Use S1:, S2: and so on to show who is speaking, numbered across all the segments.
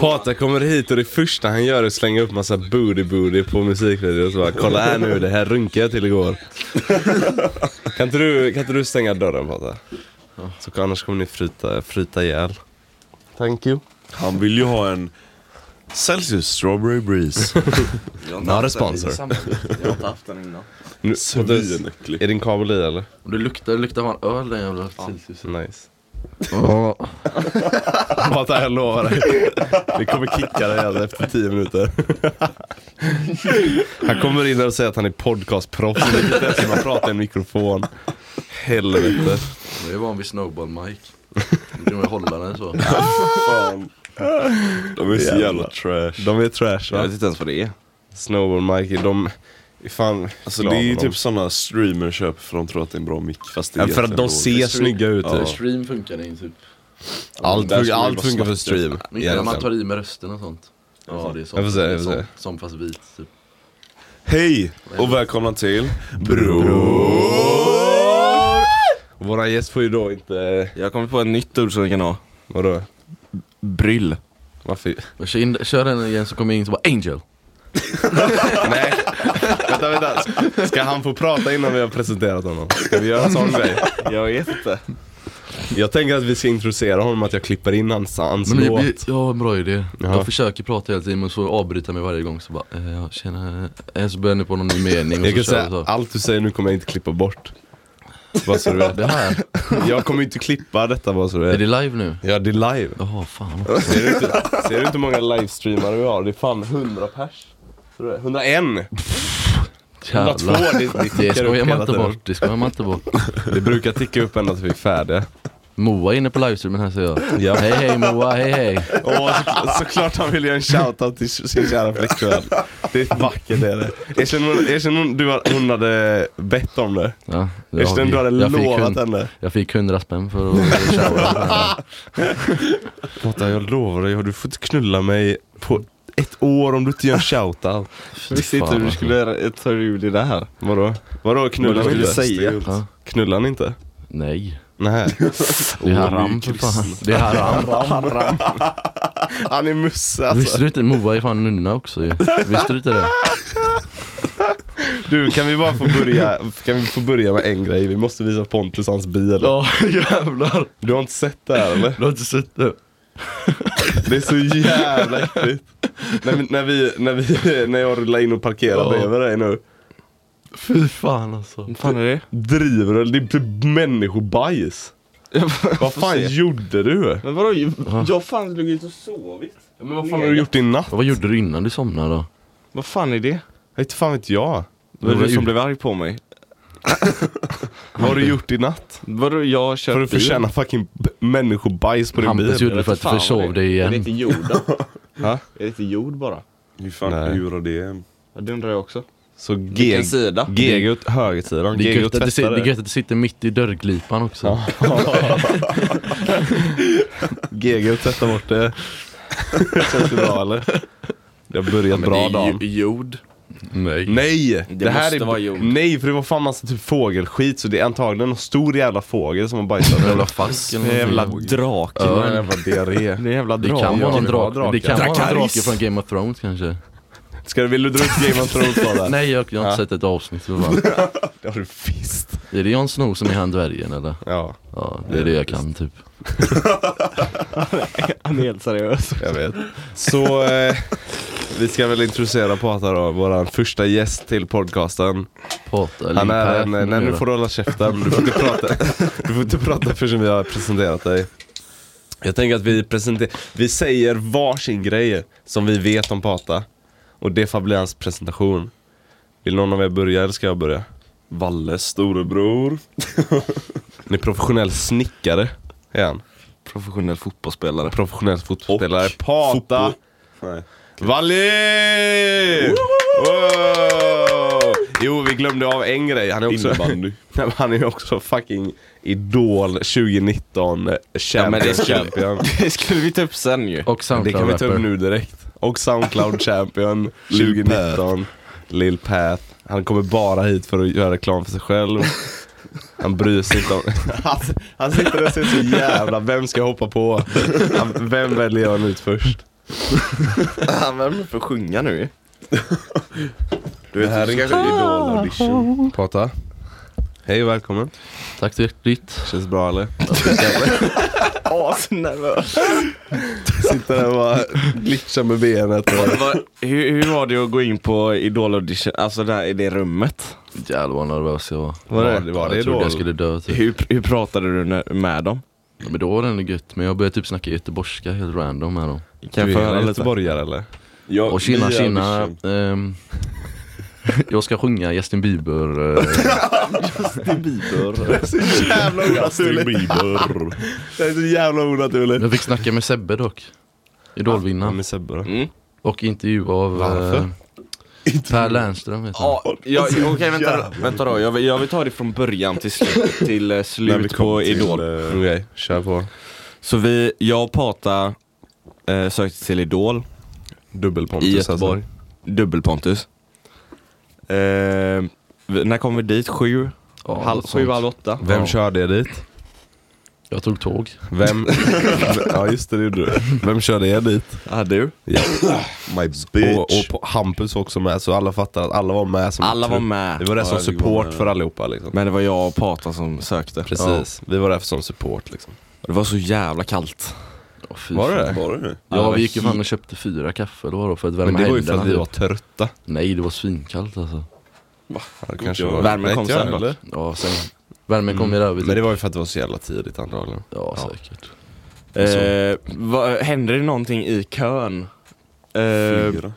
S1: Patrik kommer hit och det första han gör är att slänga upp massa booty-booty på musikvideos. och Bara, Kolla här nu, det här runkade jag till igår. kan, inte du, kan inte du stänga dörren Patrik? Så annars kommer ni fryta, fryta ihjäl. Thank you.
S2: Han vill ju ha en Celsius Strawberry Breeze.
S3: Jag har
S1: Not a
S3: haft den i
S1: sponsor.
S3: samband. Jag har inte haft den innan.
S1: Nu,
S2: Svinäcklig.
S1: är din kabel i eller?
S4: Och det luktar, det luktar fan öl den jävla Celsius.
S1: Nice.
S4: Åh.
S1: Patrik, jag lovar dig. Vi kommer kicka dig ihjäl efter tio minuter. Han kommer in och säger att han är podcastproffs. vilket är som att prata i en mikrofon. Helvete.
S4: Jag är van vid snowball-Mike. Nu kan man hålla den så.
S2: Fan. De är så jävla
S1: Jävlar.
S2: trash.
S1: De är trash
S3: Jag
S1: va?
S3: vet inte ens vad det är.
S1: Snowball Mikey, de... Fan,
S2: Alltså det är ju typ sådana streamers köper för de tror att det är en bra mick fast det är
S1: ja, För att
S2: egentligen
S1: de
S2: dåligt.
S1: ser snygga ut
S4: För
S1: typ.
S4: stream funkar det ju typ.
S1: Allt,
S2: Där
S1: funkar-
S2: skulle
S1: allt
S2: det
S1: funkar för
S2: vara
S1: stream.
S4: Men inte när man tar
S1: egentligen.
S4: i med rösten och sånt. Ja, det är sånt.
S1: Jag får se,
S4: det är
S1: jag får
S4: sånt. Som fast vit typ.
S2: Hej och välkomna till
S1: Våra gäst får ju då inte...
S3: Jag kommer på ett nytt ord som vi kan ha.
S1: Vadå?
S3: Bryll.
S1: Varför?
S4: Men kör, in, kör den igen så kommer jag in så bara Angel.
S1: Nej. vänta, vänta. Ska han få prata innan vi har presenterat honom? Ska vi göra en sån grej?
S3: Jag vet inte.
S1: Jag tänker att vi ska introducera honom, att jag klipper in hans, hans
S4: Men
S1: låt.
S4: jag, ja, en bra idé.
S1: Ja.
S4: Jag försöker prata hela tiden men så avbryter jag mig varje gång så bara eh, ja, tjena. Eh, Så börjar ni på någon ny mening och
S1: Jag
S4: så
S1: kan
S4: kör vi
S1: säga,
S4: så.
S1: allt du säger nu kommer jag inte klippa bort. Bara så du vet.
S4: Det här,
S1: Jag kommer inte klippa detta bara så du
S4: är
S1: vet.
S4: det live nu?
S1: Ja, det är live.
S4: Jaha, fan.
S1: Ser du inte, ser du inte hur många livestreamare vi har? Det är fan 100 pers. Tror du det? 101! 102! Det,
S4: Jävlar.
S1: det, tickar
S4: Det
S1: upp
S4: skojar man
S1: hela
S4: inte
S1: tiden.
S4: bort, det skojar man inte bort.
S1: Det brukar ticka upp ända till vi är färdiga.
S4: Moa är inne på livestreamen här ser jag.
S1: Ja.
S4: Hej hej Moa, hej hej.
S1: Åh, så, såklart han vill göra en shoutout till sin kära flickvän. Det är vackert det är det. Erkänn hon, erkänn hon, du, har- hon hade bett om det.
S4: Ja, jag,
S1: Erkänn du hade
S4: jag fick
S1: lovat
S4: hund-
S1: henne.
S4: Jag fick 100 spänn för att köra.
S1: Lotta, jag lovar dig, du får inte knulla mig på ett år om du inte gör en shoutout.
S3: Visste inte hur
S4: alltså.
S3: du skulle ta ur det där.
S1: Vadå? Vadå knullar
S3: Vad
S1: ni
S3: du
S1: inte?
S3: skulle säga.
S4: Ja.
S1: Knullar ni inte?
S4: Nej,
S1: Nej.
S4: det är haram för fan. Det är haram.
S1: Han är musse alltså.
S4: Visste du inte Moa är fan nunna också ju. Visste du inte det?
S1: Du, kan vi bara få börja, kan vi få börja med en grej? Vi måste visa Pontus hans bil.
S4: Ja jävlar,
S1: Du har inte sett det här eller?
S4: du har inte sett det?
S1: Det är så jävla äckligt. När, vi, när, vi, när, vi, när jag rullar in och parkerar
S4: Ja.
S1: bredvid dig nu.
S4: Fy fan alltså.
S3: Vad fan är det?
S1: Driver du? Det blir människobajs. Vad fan gjorde du?
S3: Men vadå? Jag fan låg ute och sovit.
S1: Men vad fan har du gjort i natt?
S4: Vad gjorde du innan du somnade då?
S3: Vad fan är det?
S1: Jag vet fan vet jag.
S3: Det var
S4: Vad
S3: du som
S4: gjorde-
S3: blev arg på mig.
S1: Vad har du gjort i natt?
S3: Vadå jag
S1: För
S3: kör
S1: att förtjäna fucking b- människobajs på din
S4: Hampus
S1: bil?
S4: gjorde det för att du försov dig
S3: Är det
S4: igen.
S3: inte jord då?
S1: Ha?
S3: Är det inte jord bara?
S2: Hur fan
S1: Nej.
S2: lurar det?
S3: Ja, det undrar jag också.
S1: Så G-
S3: Vilken sida?
S1: GG åt högersidan,
S4: Det är
S1: GG åt
S4: gött att det sit- det är
S1: tvättare.
S4: gött att det sitter mitt i dörrglipan också.
S1: GG åt tvätta bort det. Känns det bra eller? Det har börjat bra dagen.
S3: jord.
S4: Nej.
S1: Nej! Det, här
S3: måste
S1: är...
S3: vara jord.
S1: Nej för det var fan massa typ fågelskit så det är antagligen någon stor jävla fågel som har bajsat.
S4: Jävla fask eller någonting.
S3: Jävla drake.
S1: Det var en jävla diarré.
S3: Det är jävla
S4: Det kan vara någon drake, det kan vara en drake
S3: Drakaris.
S4: från Game of Thrones kanske.
S1: Ska du, vill du dra upp Game of Thrones där?
S4: Nej jag, jag har inte sett ett avsnitt. så Bara.
S1: Det har du visst.
S4: Är det Jon Snow som är han dvärgen eller?
S1: Ja,
S4: Ja, det är det jag kan typ.
S3: Han är helt seriös.
S1: jag vet. Så eh, vi ska väl introducera Pata då, våran första gäst till podcasten.
S4: Prata
S1: Han är en, nej nu får du hålla käften, du får inte prata, du får inte prata förrän vi har presenterat dig. Jag tänker att vi presenterar, vi säger varsin grej som vi vet om Pata. Och det får bli hans presentation. Vill någon av er börja eller ska jag börja?
S2: Valle storebror.
S1: Han är professionell snickare. Är han.
S3: Professionell fotbollsspelare.
S1: Professionell fotbollsspelare.
S2: Och
S1: Pata.
S2: fotboll. Nej.
S1: Wallin! Wow! Jo, vi glömde av en grej. Han är också,
S2: Innebandy.
S1: Nej, men han är också fucking Idol 2019 eh,
S3: men det
S1: champion.
S3: skulle-
S1: champion.
S3: Det skulle vi ta upp sen ju.
S4: Och
S1: Det kan vi ta upp
S4: Soundcloud-rapper.
S1: nu direkt. Och Soundcloud champion
S2: Lil
S1: 2019. Lil Path. Han kommer bara hit för att göra reklam för sig själv. Han bryr sig inte om... Han, han sitter där och ser så jävla, vem ska jag hoppa på? Han, vem väljer jag ut först?
S3: Han värmer för att sjunga nu
S2: Du vet,
S1: Det här
S2: du
S1: är
S2: ska kanske idol audition.
S1: Pata. Hej och välkommen.
S4: Tack så hjärtligt.
S1: Känns bra eller?
S3: Asnervös
S1: Sitta där och bara glitcha med benet. Och...
S3: hur, hur var det att gå in på idol audition, alltså där i det rummet?
S4: Jävlar vad nervös jag var.
S1: Var det-
S4: Ja,
S1: var det
S4: jag trodde
S1: då?
S4: jag skulle dö typ.
S3: Hur, hur pratade du när- med dem?
S4: Ja, Men då var det ändå gött. Men jag började typ snacka göteborgska helt random med dem.
S3: Kan jag få höra lite?
S1: göteborgare eller?
S2: Jag,
S4: Och tjena
S2: via
S4: tjena.
S2: audition.
S4: ehm, jag ska sjunga Justin Bieber. eh,
S1: Jävla
S2: Justin Bieber.
S1: Det är så jävla onaturligt.
S4: Jag fick snacka med Sebbe dock. Idolvinnaren.
S1: med Sebbe då.
S3: Mm.
S4: Och intervju av eh,
S1: Varför?
S4: Per Lernström vet jag.
S3: Ja, jag- Okej vänta, vänta då, jag vill, jag vill ta det från början till slut, till eh,
S2: När vi
S3: slut
S2: kom
S3: på
S2: till,
S3: idol
S2: eh,
S1: Okej, kör på.
S3: Så vi, jag och Pata eh, sökte till Idol
S1: Dubbelpontus
S3: i Göteborg. Dubbel-Pontus. Eh, vi- när kom vi dit? Sju?
S4: Ja,
S3: halv,
S4: något sånt.
S3: sju, halv åtta?
S1: Vem
S4: Ja.
S1: körde er dit?
S4: Jag tog tåg.
S1: Vem? ja just det, det gjorde du. Vem körde er dit?
S3: Ja, du?
S1: Ja.
S2: My
S1: Och,
S2: bitch.
S1: och på Hampus var också med, så alla fattar att alla var med som
S3: Alla var
S1: Vi
S3: med.
S1: typ. var där som
S2: Ja, vi var
S1: support
S2: med.
S1: för allihopa liksom.
S3: Men det var jag och Pata som sökte.
S1: Precis, vi var där som support liksom.
S3: Och Det var så jävla kallt.
S4: Åh, fy
S1: Var det
S4: fan.
S1: det?
S2: Var det?
S4: Ja, vi gick ju fan och köpte fyra kaffe då, då för att värma
S1: Men det var ju för
S4: händerna,
S1: att vi
S4: typ.
S1: var trötta.
S4: Nej, det var svinkallt alltså.
S1: Ja, det kanske
S2: jag-
S1: var...
S3: Värmen
S1: Nej,
S3: kom
S1: inte jag
S3: sen dock.
S1: heller.
S4: Ja, sen värmen kom ju över
S1: Men
S4: typ.
S1: det var ju för att det var så jävla tidigt antagligen.
S4: Ja, säkert.
S3: Eh, vad- hände det någonting i kön? Eh,
S2: Fyra.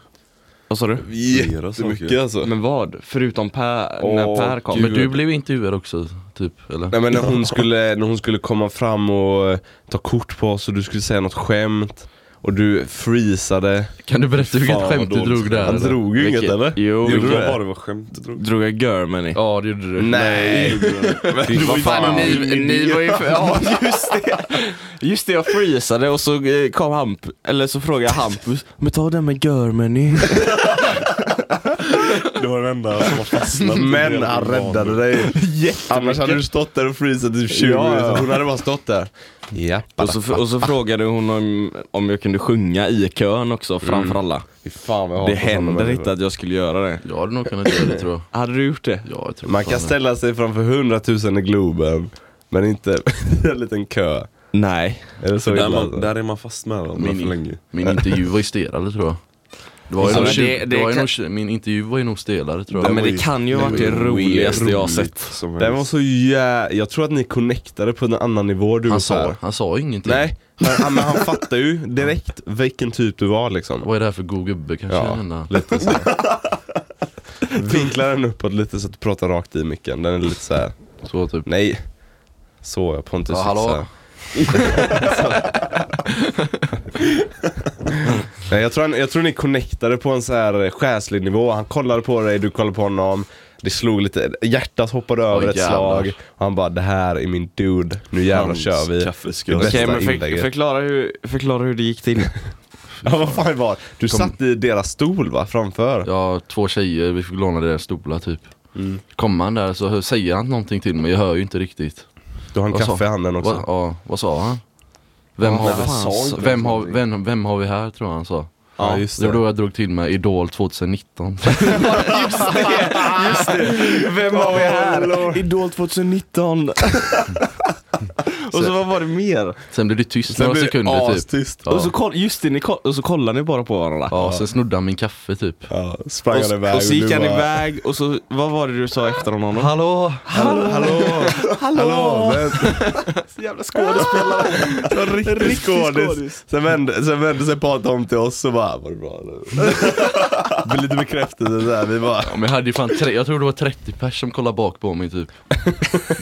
S3: vad sa du?
S1: Jättemycket alltså.
S3: Men vad? Förutom Per, när
S1: Åh,
S3: Per kom?
S4: Men du blev intervjuad också, typ, eller?
S1: Nej men när hon, skulle, när hon skulle komma fram och eh, ta kort på oss och du skulle säga något skämt och du freezade.
S4: Kan du berätta vilket
S2: Fan,
S4: skämt du
S2: vad dåligt.
S4: drog där?
S1: Han
S4: eller?
S1: drog ju inget
S3: Vilket-
S1: eller?
S3: Jo,
S1: Gjorde
S2: Gjorde
S1: du det?
S2: jag bara var skämt? Jag tror.
S3: drog jag Germany?
S4: Ja, det gjorde du.
S1: Nej!
S3: Du var fan,
S1: fan.
S3: ni, ni var ju för, ja just det. Just det, jag freezade och så eh, kom Hamp, eller så frågade jag Hampus, men ta den med Germany.
S2: Det var den enda som var fastnat.
S1: Men han räddade dig. Annars hade du stått där och freezat i 20
S2: Ja, ja.
S1: minuter. Hon hade bara stått där. Ja.
S3: Och så, och så frågade hon om, om jag kunde sjunga i kön också framför alla.
S1: Fy fan vad jag
S3: Mm. Det
S1: hatar sådana
S3: händer
S1: människor.
S3: inte att jag skulle göra det.
S4: Jag hade nog kunnat göra det tror jag.
S3: Hade du gjort det?
S4: Ja, jag tror
S1: Man
S4: fan
S1: kan
S4: det.
S1: ställa sig framför 100 000 i Globen, men inte i en liten kö.
S3: Nej.
S1: Är det så
S2: Där,
S1: illa?
S2: man,
S1: alltså?
S2: där är man fast med varandra
S4: Min-
S2: för länge.
S4: Min intervju var ju stelare tror jag. Det var ju
S3: Ja,
S4: nog
S3: men
S4: tjugo-
S3: det- det
S4: det var ju
S3: kan-
S4: nog tjugo- Min intervju var ju nog stelare tror jag.
S3: men det kan ju ha varit det roligaste jag har sett.
S2: Som
S1: Den var
S2: helst.
S1: så jä... Jag tror att ni connectade på en annan nivå du
S4: Han
S1: och Per.
S4: sa, han sa ju ingenting.
S1: Nej, han, han, men han fattar ju direkt vilken typ du var liksom.
S4: Vad är det här för god gubbe kanske?
S1: Ja.
S4: denna?
S1: Lite så. Vinklar den uppåt lite så att du pratar rakt i micken. Den är lite så här.
S4: Så typ.
S1: nej. Så jag Pontus.
S4: Ja, hallå?
S1: så här. Nej, jag, tror han, jag tror ni connectade på en så här eh, själslig nivå. Han kollade på dig, du kollade på honom. Det slog lite, hjärtat hoppade över ett
S4: jävlar.
S1: slag. Och han bara, det här är min dude. Nu jävlar kör vi.
S2: Kaffeskum.
S1: Det
S3: Okej,
S1: Bästa
S3: men för,
S1: inlägget.
S3: förklara, hur, förklara hur det gick till.
S1: Ja vad fan var det? Du satt i deras stol va, framför?
S4: Ja, två tjejer, vi fick låna deras stolar typ. Kommer han där så hör, säger han någonting till mig, jag hör ju inte riktigt.
S1: Du har en
S4: Vad
S1: kaffe
S4: sa-
S1: i handen också.
S4: Va, ja, vad sa han? Vem,
S3: Ja,
S4: har,
S3: han sa
S4: vi,
S3: inte
S4: vem, har,
S3: någonting.
S4: vem, vem har vi här tror jag han sa.
S1: Ja, just
S4: Det var
S1: det.
S4: då jag drog till med Idol 2019.
S3: Vem har vi här? Idol 2019. och så vad var det mer?
S4: Sen blev det tyst några sekunder typ.
S1: astyst.
S4: Ja.
S3: Och, så koll, just det, ni koll, och så kollade ni bara på varandra.
S4: Ja, sen snodde han min kaffe typ.
S1: Ja, sprang
S3: Och,
S1: han iväg
S3: så- och så gick
S1: du
S3: han
S1: bara,
S3: iväg och så, vad var det du sa efter honom? då?
S4: Hallå!
S1: Hallå, hallå, hallå. men-
S3: Så jävla skådespelare.
S1: Det var riktigt skådis. Sen vände, sen vände sig Pat om till oss och bara, "Ah, var det bra nu? Det blev lite bekräftelse där, vi bara
S4: Ja, men jag hade ju fan tre, jag tror det var 30 pers som kollade bak på mig typ.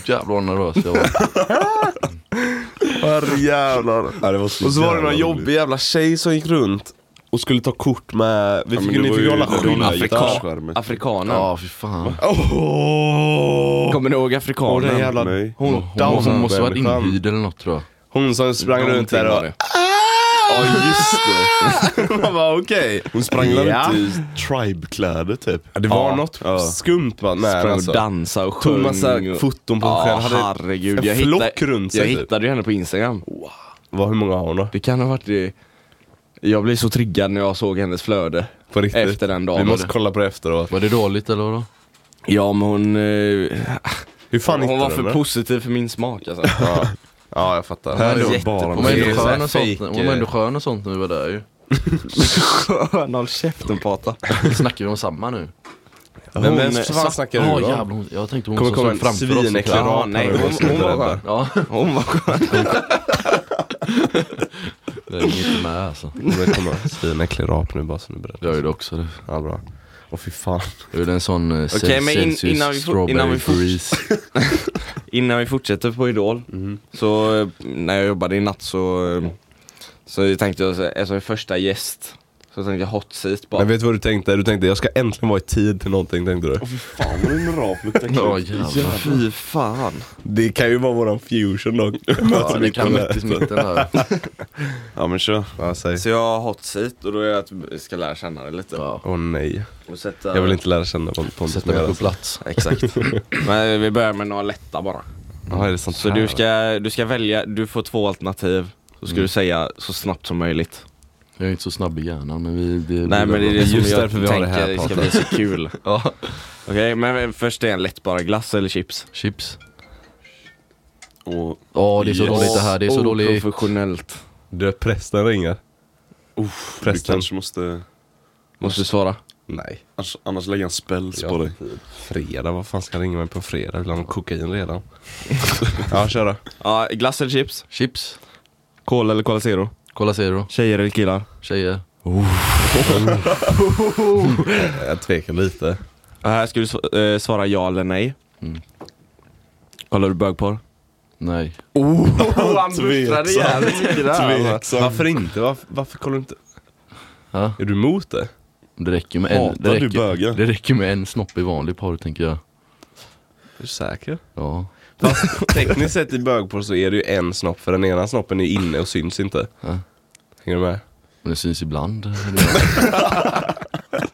S4: Jävlar vad nervös jag var.
S1: Herrejävlar.
S2: Ja, det var så
S1: "Ah, Och så var det
S2: jävla
S1: någon
S2: roligt.
S1: jobbig jävla tjej som gick runt och skulle ta kort med, vi
S2: Ja, men
S1: fick,
S2: det
S1: ni
S2: var
S1: fick ju
S2: ju-
S1: hålla
S2: det var ju
S1: skyltar.
S2: skärmen.
S3: Afrikanen.
S4: Ja, fy fan.
S1: Åh!
S3: Kommer ni ihåg
S1: Och
S3: afrikanen?
S1: den jävla
S2: Nej.
S4: Hon,
S1: hon,
S4: hon, hon, måste vara
S1: människan.
S4: inhyrd eller något tror jag.
S1: Hon som sprang runt
S3: Någonting
S1: där
S3: var
S1: och... Ah!
S3: det.
S1: Ja just det! Man bara okej.
S2: Hon sprang väl
S1: Ja.
S2: inte i tribe-kläder typ?
S1: Det var
S3: Ja.
S1: något
S2: Ja.
S1: skumt va? med
S3: Sprang
S1: den,
S3: och
S1: alltså.
S3: dansade och sjöng.
S1: Tog massa
S3: och...
S1: foton på
S3: Ja,
S1: sig själv. Hade
S3: herregud.
S1: en
S3: jag
S1: flock
S3: hittade,
S1: runt
S3: Jag
S1: sig typ.
S3: hittade ju henne på Instagram.
S1: Vad, hur många har hon då?
S3: Det kan ha varit det. Jag blev så triggad när jag såg hennes flöde.
S1: På riktigt.
S3: Efter den
S1: Vi
S3: dagen.
S1: måste kolla på det efteråt.
S4: Var det dåligt eller vadå?
S3: Ja men hon... Eh,
S1: Hur fan
S3: hon
S1: hittade
S3: var
S1: du
S3: för
S1: den?
S3: positiv för min smak alltså.
S1: Ja. ja, jag fattar.
S3: Här är
S1: Det var
S3: jätte-
S1: bara
S4: Hon var
S1: med-
S4: ändå
S1: så här
S4: skön och sånt,
S1: fake,
S4: hon var ändå
S1: eh,
S4: skön och sånt när vi var där ju.
S3: Skön, håll käften pata.
S4: Snackar vi om samma nu?
S1: Men vem
S3: Hon-
S1: fan snackar
S4: Ja
S1: du om?
S4: jävlar, hon- jag tänkte hon
S1: Kommer
S4: som
S1: komma
S4: stod
S1: en
S4: framför oss.
S1: svinäcklig
S3: Ja,
S1: rap
S3: nej,
S1: här och
S3: hon-
S1: vi måste
S3: hon var
S1: rädda.
S3: skön.
S4: Ja,
S3: Hon var skön.
S4: det är inte med alltså.
S1: Det kommer en svinäcklig rap nu bara så du är beredd.
S4: Jag gjorde också det.
S1: Ja, bra. Åh fy fan.
S4: Jag gjorde en sån eh,
S3: Okej, men in-
S4: Celsius
S3: innan vi får-
S4: strawberry
S3: innan vi får-
S4: freeze.
S3: Innan vi fortsätter på Idol,
S1: Mhm.
S3: så eh, när jag jobbade i natt så, eh, så tänkte jag, så här, eftersom jag är första gäst, så tänkte jag hot seat bara.
S1: Men vet du vad du tänkte? Du tänkte jag ska äntligen vara i tid till någonting tänkte du.
S2: Fan vad din rap luktar
S4: Ja
S2: kul.
S3: Ja,
S4: jävlar.
S3: fy fan.
S1: Det kan ju vara våran fusion dock.
S4: Ja, det kan mitt i mitten där.
S2: Ja men kör.
S1: Ja, säg.
S3: Så jag har hot seat och då är jag att jag ska lära känna det lite.
S4: Ja.
S1: Åh nej.
S3: Och sätta...
S1: Jag vill inte lära känna Pon- Pontus
S4: Sätta
S1: mer
S4: mig på
S1: alltså.
S4: plats.
S3: Exakt. Men vi börjar med några lätta bara.
S1: Ja, är det sånt
S3: Så
S1: här?
S3: du ska, du ska välja, du får två alternativ. Så
S1: Mm.
S3: ska du säga så snabbt som möjligt.
S4: Jag är inte så snabb i hjärnan men vi... Det
S3: Nej men det är det
S1: Just
S3: som jag
S1: därför vi har det här,
S3: tänker ska
S1: Patrik.
S3: bli så kul.
S4: Ja.
S3: Okej, men först är en lätt bara, glass eller chips?
S4: Chips.
S2: Och
S4: Ja det är så
S2: Yes.
S4: dåligt det här, det
S3: Oh,
S4: är så dåligt.
S3: Professionellt.
S1: Du, prästen ringer.
S2: uff, du
S1: Prästen.
S2: kanske måste,
S3: Måste du svara?
S1: Nej.
S2: annars, annars lägga en spells på dig.
S1: Fredag, vad fan ska han ringa mig på fredag? Vill han ha kokain redan? ja, kör då.
S3: Ja, glass eller chips?
S4: Chips.
S3: Cola eller Cola Zero?
S4: Kolla Zero.
S3: Tjejer eller killar?
S4: Tjejer.
S1: Jag tvekar lite.
S3: Och här ska du sv- eh, svara ja eller nej.
S4: Mm.
S3: Kollar du bögporr?
S4: Nej.
S3: Oh, han
S1: buttrade
S3: jävligt mycket
S1: Varför inte? Varför, varför kollar du inte?
S4: Ja,
S1: Är du emot det?
S4: det räcker med en...
S2: Hatar
S4: Det
S2: du
S4: räcker,
S2: bögar?
S4: det räcker med en snopp i vanlig porr tänker jag.
S1: Är du säker?
S4: Ja.
S1: Fast tekniskt sett i bögporr så är det ju en snopp, för den ena snoppen är ju inne och syns inte.
S4: Ja.
S1: Hänger du med?
S4: Men det syns ibland.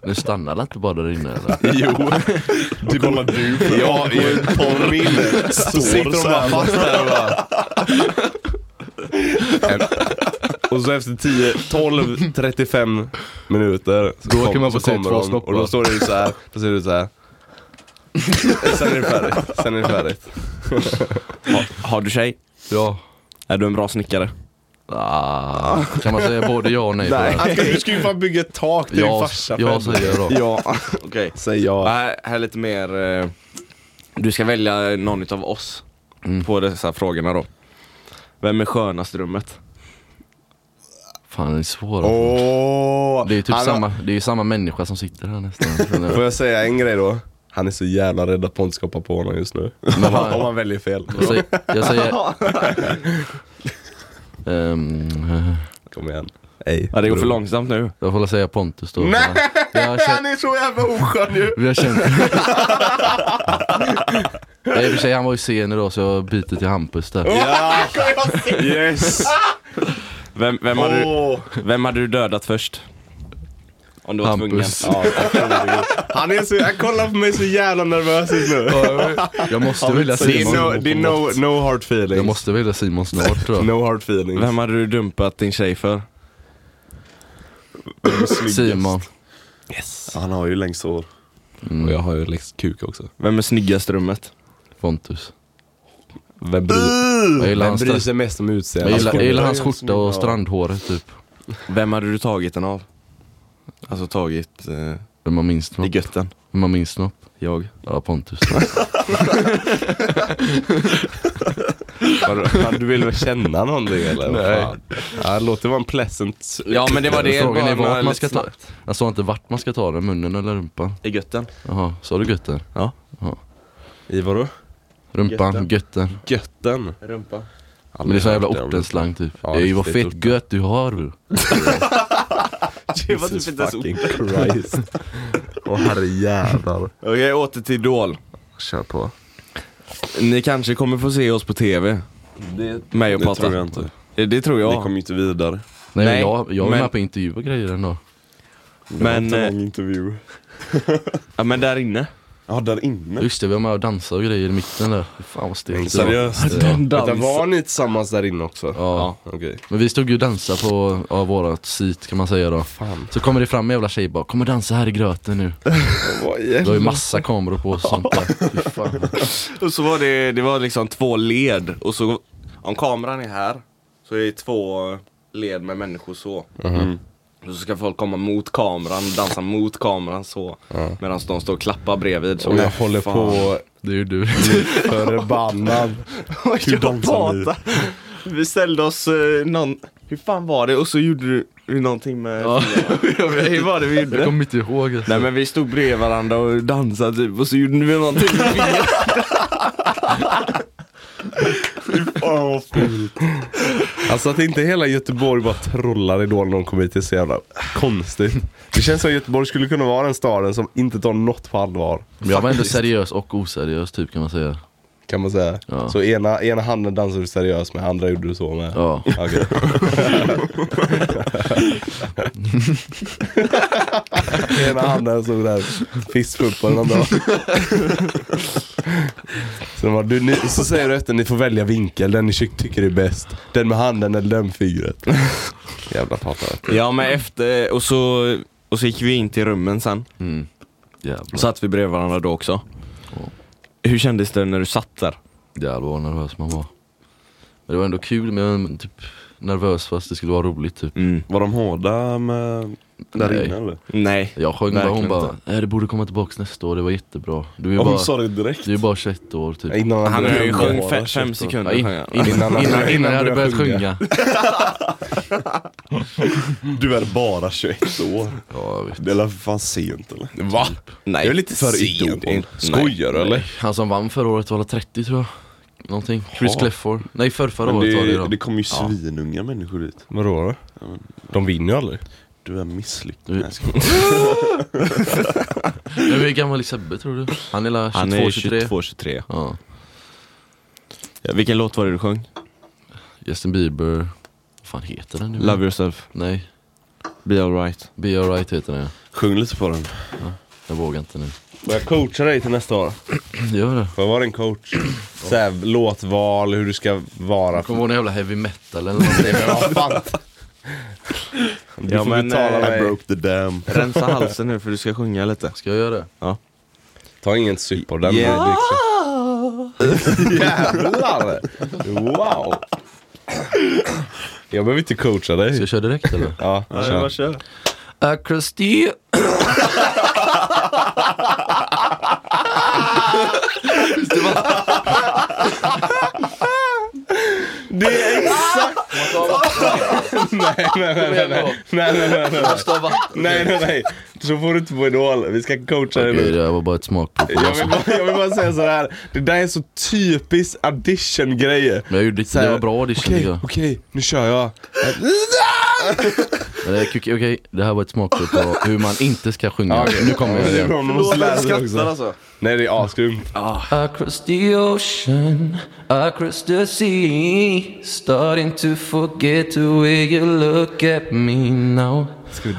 S4: Nu stannar det inte bara där inne eller?
S1: Jo.
S2: Du kollar du på
S1: Ja, i en porr inne. Så sitter de bara fast där och bara... Och så efter 10, 12, 35 minuter så
S4: Då kan man få
S1: så
S4: se
S1: kommer
S4: två
S1: de,
S4: snoppar.
S1: Och då står det ju så här, då ser det ut så här. Sen är det färdigt, sen är det färdigt.
S3: Har, har du tjej?
S4: Ja.
S3: Är du en bra snickare?
S4: Ah, kan man säga både ja och nej på det?
S1: Alltså, Du ska ju fan bygga ett tak till din
S4: Jag,
S1: farsa
S4: jag säger då.
S3: Ja. Okej.
S1: Säg ja.
S3: Här, här är lite mer... eh, Du ska välja någon utav oss
S4: Mm.
S3: på dessa frågorna då. Vem är skönast i rummet?
S4: Fan den är svår. alltså.
S1: Åh!
S4: Det är ju typ
S1: Han har-
S4: samma, det är ju samma människa som sitter här nästan.
S1: Får jag säga en grej då? Han är så jävla rädd att Pontus ska hoppa på honom just nu.
S4: Men vad-
S1: Om han väljer fel.
S4: Jag säger... Jag säger Ehm, eh,
S1: Kom igen. Ej.
S3: Ja, det går för långsamt nu.
S4: jag får väl säga Pontus då.
S1: Nej!
S4: Vi har känt...
S1: är så jävla oskön ju!
S4: Vi har känt... Nej, i och för sig, han var ju sen idag så jag byter till Hampus där.
S1: Ja!
S2: Yes!
S3: Vem, vem, har du,
S1: Åh.
S3: vem hade du dödat först? Om du var tvungen.
S4: Hampus.
S1: Ja, han är så, han kollar på mig så jävla nervös just nu.
S4: Jag måste vilja
S1: Det är no,
S4: Simon.
S1: det är no, no hard feelings.
S4: Jag måste vilja Simon snart tror jag.
S1: No hard feelings.
S3: Vem hade du dumpat din tjej för?
S4: Simon.
S2: Han har ju längst hår.
S4: Mm.
S1: jag har ju längst kuk också.
S3: Vem är snyggast i rummet?
S4: Pontus.
S1: Vem bryr,
S4: Jag gillar
S1: Uh! vem
S4: hans,
S1: bryr sig mest om
S4: jag
S1: utseendet?
S4: gillar, jag gillar hans
S2: Jag gillar
S4: skjorta och strandhåret typ.
S3: Vem hade du tagit den av? Alltså tagit eh,
S4: Vem har minst
S3: i
S4: snopp?
S3: götten?
S4: Vem har minst snopp?
S3: Jag.
S4: Ja, Pontus.
S1: Har- har Du vill väl känna någonting eller? Vad
S4: Nej.
S1: fan? Ja, låt det vara en pleasant...
S3: Ja men det var det.
S4: Frågan är
S3: Bara
S4: vart man
S3: lite
S4: ska ta.
S3: snabbt.
S4: Jag sa inte vart man ska ta den, munnen eller rumpan.
S3: I götten?
S4: Jaha, sa du götten?
S3: Ja.
S1: I vadå?
S4: Rumpan, götten.
S1: Götten.
S3: Rumpa.
S4: Men det är sån
S1: Aldrig
S4: jävla
S1: hört det om.
S4: ortenslang typ.
S1: Ja,
S4: Ej vad
S1: riktigt
S4: fett
S1: orten.
S4: gött du har.
S3: Det var
S1: Jesus
S3: typ inte ens
S1: fucking Christ. Åh herrejävlar.
S3: Okej, åter till Idol.
S1: Kör på.
S3: Ni kanske kommer få se oss på TV. Det, Mig och
S2: Det tror jag
S3: Pata.
S2: inte.
S3: Det, det tror
S2: Ni
S3: jag.
S2: kom ju inte vidare.
S4: Nej,
S3: Nej,
S4: jag, jag är
S3: men-
S4: med på intervju och grejer ändå.
S2: Det var
S3: Men,
S2: inte
S3: eh,
S2: någon intervju.
S3: Ja men där inne.
S2: Ja, där inne?
S4: Just det, vi var med och dansade och grejer i mitten där. Fy Fan vad stelt det var.
S2: Seriöst?
S4: Ja.
S1: Vänta, var ni tillsammans där inne också?
S4: Ja.
S1: Okej.
S4: Men vi stod ju och dansade på ja, vårat seat kan man säga då.
S1: Fan.
S4: Så kommer det fram en jävla tjej bara, kom och dansa här i gröten nu. Det var ju massa kameror på och sånt där. Fy fan.
S3: Och så var det, det var liksom två led och så om kameran är här så är det två led med människor så.
S1: Mhm.
S3: Mm. Och så ska folk komma mot kameran, dansa mot kameran så. Medan de står och klappar bredvid. Så
S1: Och jag håller på
S4: Det är ju du.
S1: förbannad.
S3: Hur
S2: dansar ni?
S3: Vi ställde oss eh, någon, hur fan var det? Och så gjorde du- du någonting med
S4: Ja.
S3: Hur var det vi
S4: Jag
S3: gjorde?
S4: kommer inte ihåg. Alltså.
S3: Nej men vi stod bredvid varandra och dansade typ och så gjorde vi någonting med fingret.
S2: Åh, fy.
S1: Alltså att inte hela Göteborg bara trollar Idol när de kommer hit, det är så jävla konstigt. Det känns som att Göteborg skulle kunna vara den staden som inte tar något på allvar.
S4: Men jag var ändå seriös och oseriös typ kan man säga.
S1: Kan man säga.
S4: Ja.
S1: Så ena, ena handen dansar du seriöst med, andra gjorde du så med.
S4: Ja.
S1: Okej. ena handen såg där fistpump och den andra så, de bara, du, ni, så säger du efter, ni får välja vinkel, den ni tycker är bäst. Den med handen eller den med fingret. Jävla patare.
S3: Ja men efter, och så, och så gick vi in till rummen sen.
S4: Mm.
S3: Och
S4: Jävlar,
S3: satt vi bredvid varandra då också.
S4: Ja.
S3: Hur kändes det när du satt där?
S4: jävlar vad nervös man var. Men det var ändå kul men jag var typ nervös fast det skulle vara roligt typ.
S3: Mm.
S2: Var de hårda med där
S4: Nej.
S2: inne eller?
S3: Nej.
S4: Jag sjöng bara, hon
S3: Verkligen
S4: bara äh, det borde komma tillbaka nästa år, det var jättebra. Du är ju
S2: Ja, hon
S4: bara,
S2: sa det direkt.
S4: du är bara 21 år typ.
S1: Innan
S3: Han
S1: började
S3: har ju
S1: sjunga.
S3: sjungit fem, fem sekunder.
S4: Ja, in,
S3: sjöng han.
S4: innan, innan, innan, jag hade börjat sjunga.
S2: Du är bara 21 år.
S4: Ja, jag vet.
S2: Det är väl för fan sent eller?
S1: Va?
S3: Nej.
S1: Det är lite
S2: För
S1: sent.
S2: Idol.
S1: Skojar du eller?
S4: Han som vann förra året var 30 tror jag. Någonting. Chris
S2: Ja.
S4: Clefford. Nej förr, förra
S2: Men
S4: året var det
S2: det,
S4: då.
S2: det kommer ju svinunga människor dit.
S1: Vadå då? De vinner ju aldrig.
S2: Du är misslyckad.
S4: Du-
S2: Nej, jag skojar.
S4: Men Hur gammal är Sebbe tror du? Han är la 22,
S3: Han är
S4: 23?
S3: 22, 23.
S4: Ja.
S3: Ja, vilken låt var det du sjöng?
S4: Justin Bieber. Vad fan heter den nu?
S3: Love yourself,
S4: Nej.
S3: be alright.
S4: Be alright heter den ja.
S2: Sjung lite på den.
S4: Jag vågar inte nu.
S1: Och jag coachar dig till nästa år.
S4: Gör det.
S1: Får jag vara din coach? Såhär, låtval, hur du ska vara.
S4: Kommer ihåg någon jävla heavy metal eller någonting?
S1: Du
S3: Ja,
S1: får
S3: men,
S1: betala
S3: eh,
S2: I
S1: mig.
S2: broke the dam.
S3: Rensa halsen nu för du ska sjunga lite.
S4: Ska jag göra det?
S1: Ta ingen sup av den.
S3: Yeah.
S1: det är klart. Jävlar! Wow! Jag behöver inte coacha
S4: Ska
S1: dig.
S4: jag köra direkt eller?
S1: Ja, kör.
S4: Across the...
S1: Det är exakt... nej, nej, nej, nej, nej, nej, nej, nej, nej. nej, nej, nej. Så får du inte på Idol. Vi ska coacha dig
S4: Okej,
S1: nu.
S4: det här var bara ett smakprov.
S1: Jag vill, bara, jag vill bara säga sådär, det där är så typiskt audition-grejer.
S4: Men jag gjorde inte, det var bra audition tycker
S1: Okej,
S4: jag.
S1: okej, nu kör jag.
S4: Men det är- Okej, Eh, okej, det här var ett smakprov på hur man inte ska sjunga. Nu kommer jag igen.
S1: Man måste lära sig också.
S3: alltså.
S1: Nej det är asgrymt.
S5: Across the ocean, across the sea, starting to forget the way you look at me now.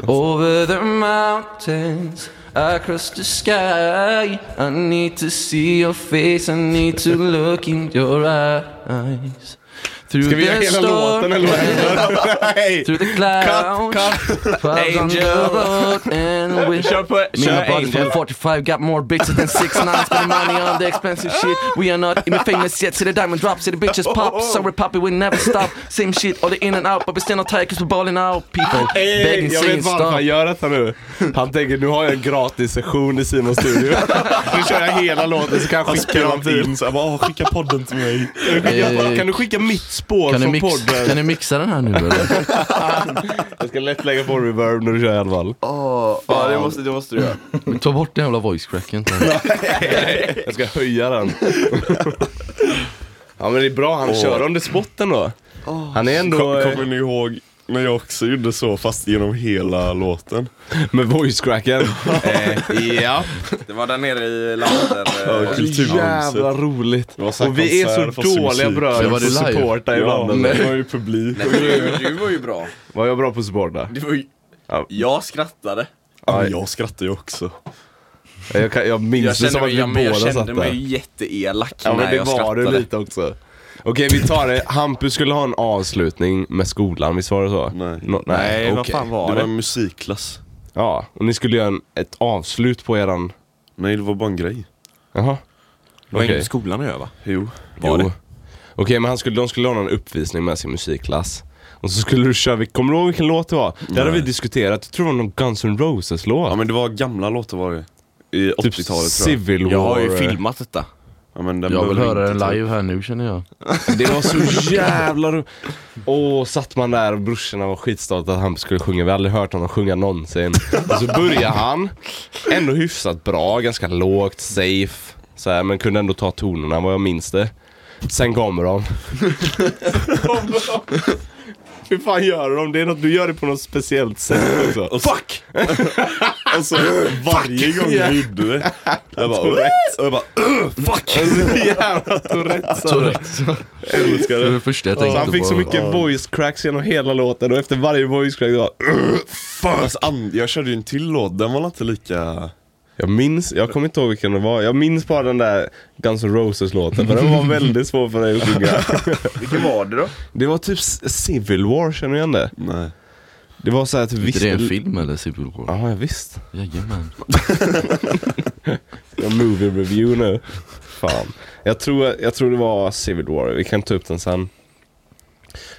S5: Over the mountains, across the sky, I need to see your face, I need to look in your eyes. Through
S1: Ska vi göra
S5: the
S1: hela låten eller vad händer? Nej!
S4: Typ
S5: Through the clouds, clouds on the road and we
S3: Kör på,
S5: Me
S3: kör
S5: and my brother
S3: Angel.
S5: from 45 got more bitches than 6 9 Spending money on the expensive shit We are not even famous yet See the diamond drop, see the bitches pop Sorry poppy, we never stop Same shit, all the in and out But we stand on tight cause we're balling out People
S1: Hey,
S5: begging,
S1: jag
S5: saying
S1: vet varför
S5: stop
S1: han gör detta nu. Han tänker nu har jag en gratis session i Simons studio. Nu kör jag hela låten så kan jag skicka dem
S2: Spelat
S3: typ.
S1: till.
S2: in såhär, bara "Åh, skicka podden till mig.
S4: Eh,
S1: Kan du skicka mitt spår
S4: Kan ni,
S1: från
S4: mix,
S1: podden?
S4: kan ni mixa den här nu eller?
S1: Jag ska lätt lägga på reverb när du kör i alla fall.
S3: Ja, det måste, det måste du göra.
S4: Ta bort den jävla voice cracken.
S1: Jag ska höja den. Ja men det är bra, han kör under spotten då. Han är ändå...
S2: Kom,
S1: eh,
S2: kommer ni ihåg när jag också gjorde så fast genom hela låten?
S1: Med voice-cracken. eh, ja.
S3: Det var där eh, nere i landet.
S2: Ja, kulturhuset.
S1: Jävla roligt.
S2: Det var så här
S1: Och vi är så
S2: konsert, fast i
S1: dåliga
S2: musik.
S1: bröder
S4: Men var
S1: på
S4: det
S1: att
S4: live?
S1: supporta
S2: Ja,
S1: ibland
S2: men
S1: eller?
S2: det var ju publik.
S3: du, du var ju bra.
S1: Var jag bra på att supporta?
S3: Du var ju...
S1: Ja.
S3: Jag skrattade.
S2: Ja, men jag skrattade ju också.
S1: Jag, kan, jag minns
S3: Jag
S1: det
S3: kände
S1: som att
S3: mig,
S1: vi
S3: ja, men
S1: båda
S3: jag
S1: satt
S3: kände
S1: där.
S3: mig jätteelak
S1: ja men
S3: när
S1: det
S3: jag
S1: var du
S3: skrattade.
S1: lite också. Okej vi tar det, Hampus skulle ha en avslutning med skolan, visst var det så?
S2: Nej.
S1: Nå-
S3: Nej,
S1: nej
S3: vad
S1: okej.
S3: fan var
S2: det var
S3: det?
S2: en musikklass.
S1: Ja, och ni skulle göra en, ett avslut på eran...
S2: Nej, det var bara en grej.
S1: Jaha.
S3: Det var inget
S1: okej.
S3: med skolan att göra va?
S2: Jo.
S1: Var det? Okej, men han skulle, de skulle ha någon uppvisning med sin musikklass. Och så skulle du köra, vil- kommer du ihåg vilken låt det var? Det hade vi diskuterat, jag tror det var någon Guns N' Roses-låt.
S2: Ja men det var gamla låtar var det. I 80-talet tror jag.
S1: Typ Civil War. eh.
S3: Jag har ju filmat detta.
S2: Ja, men den
S4: Jag vill
S2: behöver
S4: höra
S2: inte
S4: den
S2: ta upp.
S4: live här nu känner jag.
S1: Det var så jävla ro- Och satt man där och brorsorna var skitstolta att han skulle sjunga. Vi har aldrig hört honom sjunga någonsin. Och så börjar han, ändå hyfsat bra, ganska lågt, safe. Så här, men kunde ändå ta tonerna vad jag minns det. Sen kommer de. Hur fan gör de? Det är något, du gör det på något speciellt sätt också.
S2: Och så, Fuck! och så Alltså, varje gång
S1: Yeah.
S2: vi gjorde det. Jag bara,
S1: Tourette.
S2: och jag bara "Ugh, fuck!
S1: Jävla Tourettes.
S2: Älskar
S4: Det var
S2: det.
S4: det första jag
S1: Så
S4: tänkte
S1: han fick
S4: på.
S1: så mycket voice cracks genom hela låten och efter varje voice crack det var
S2: Fast Alltså, and- jag körde ju en till låt, den var inte lika...
S1: Jag minns, jag kommer inte ihåg vilken det var. Jag minns bara den där Guns N' Roses låten, för den var väldigt svår för dig att sjunga.
S3: Vilken var det då?
S1: Det var typ C- Civil War, känner du igen det?
S2: Nej.
S1: Det var såhär typ
S4: Är
S1: visst...
S4: det en film eller Civil War?
S1: Ja, visst.
S4: Jajamän.
S1: Jag har movie review nu. Fan. Jag tror, jag tror det var Civil War, vi kan ta upp den sen.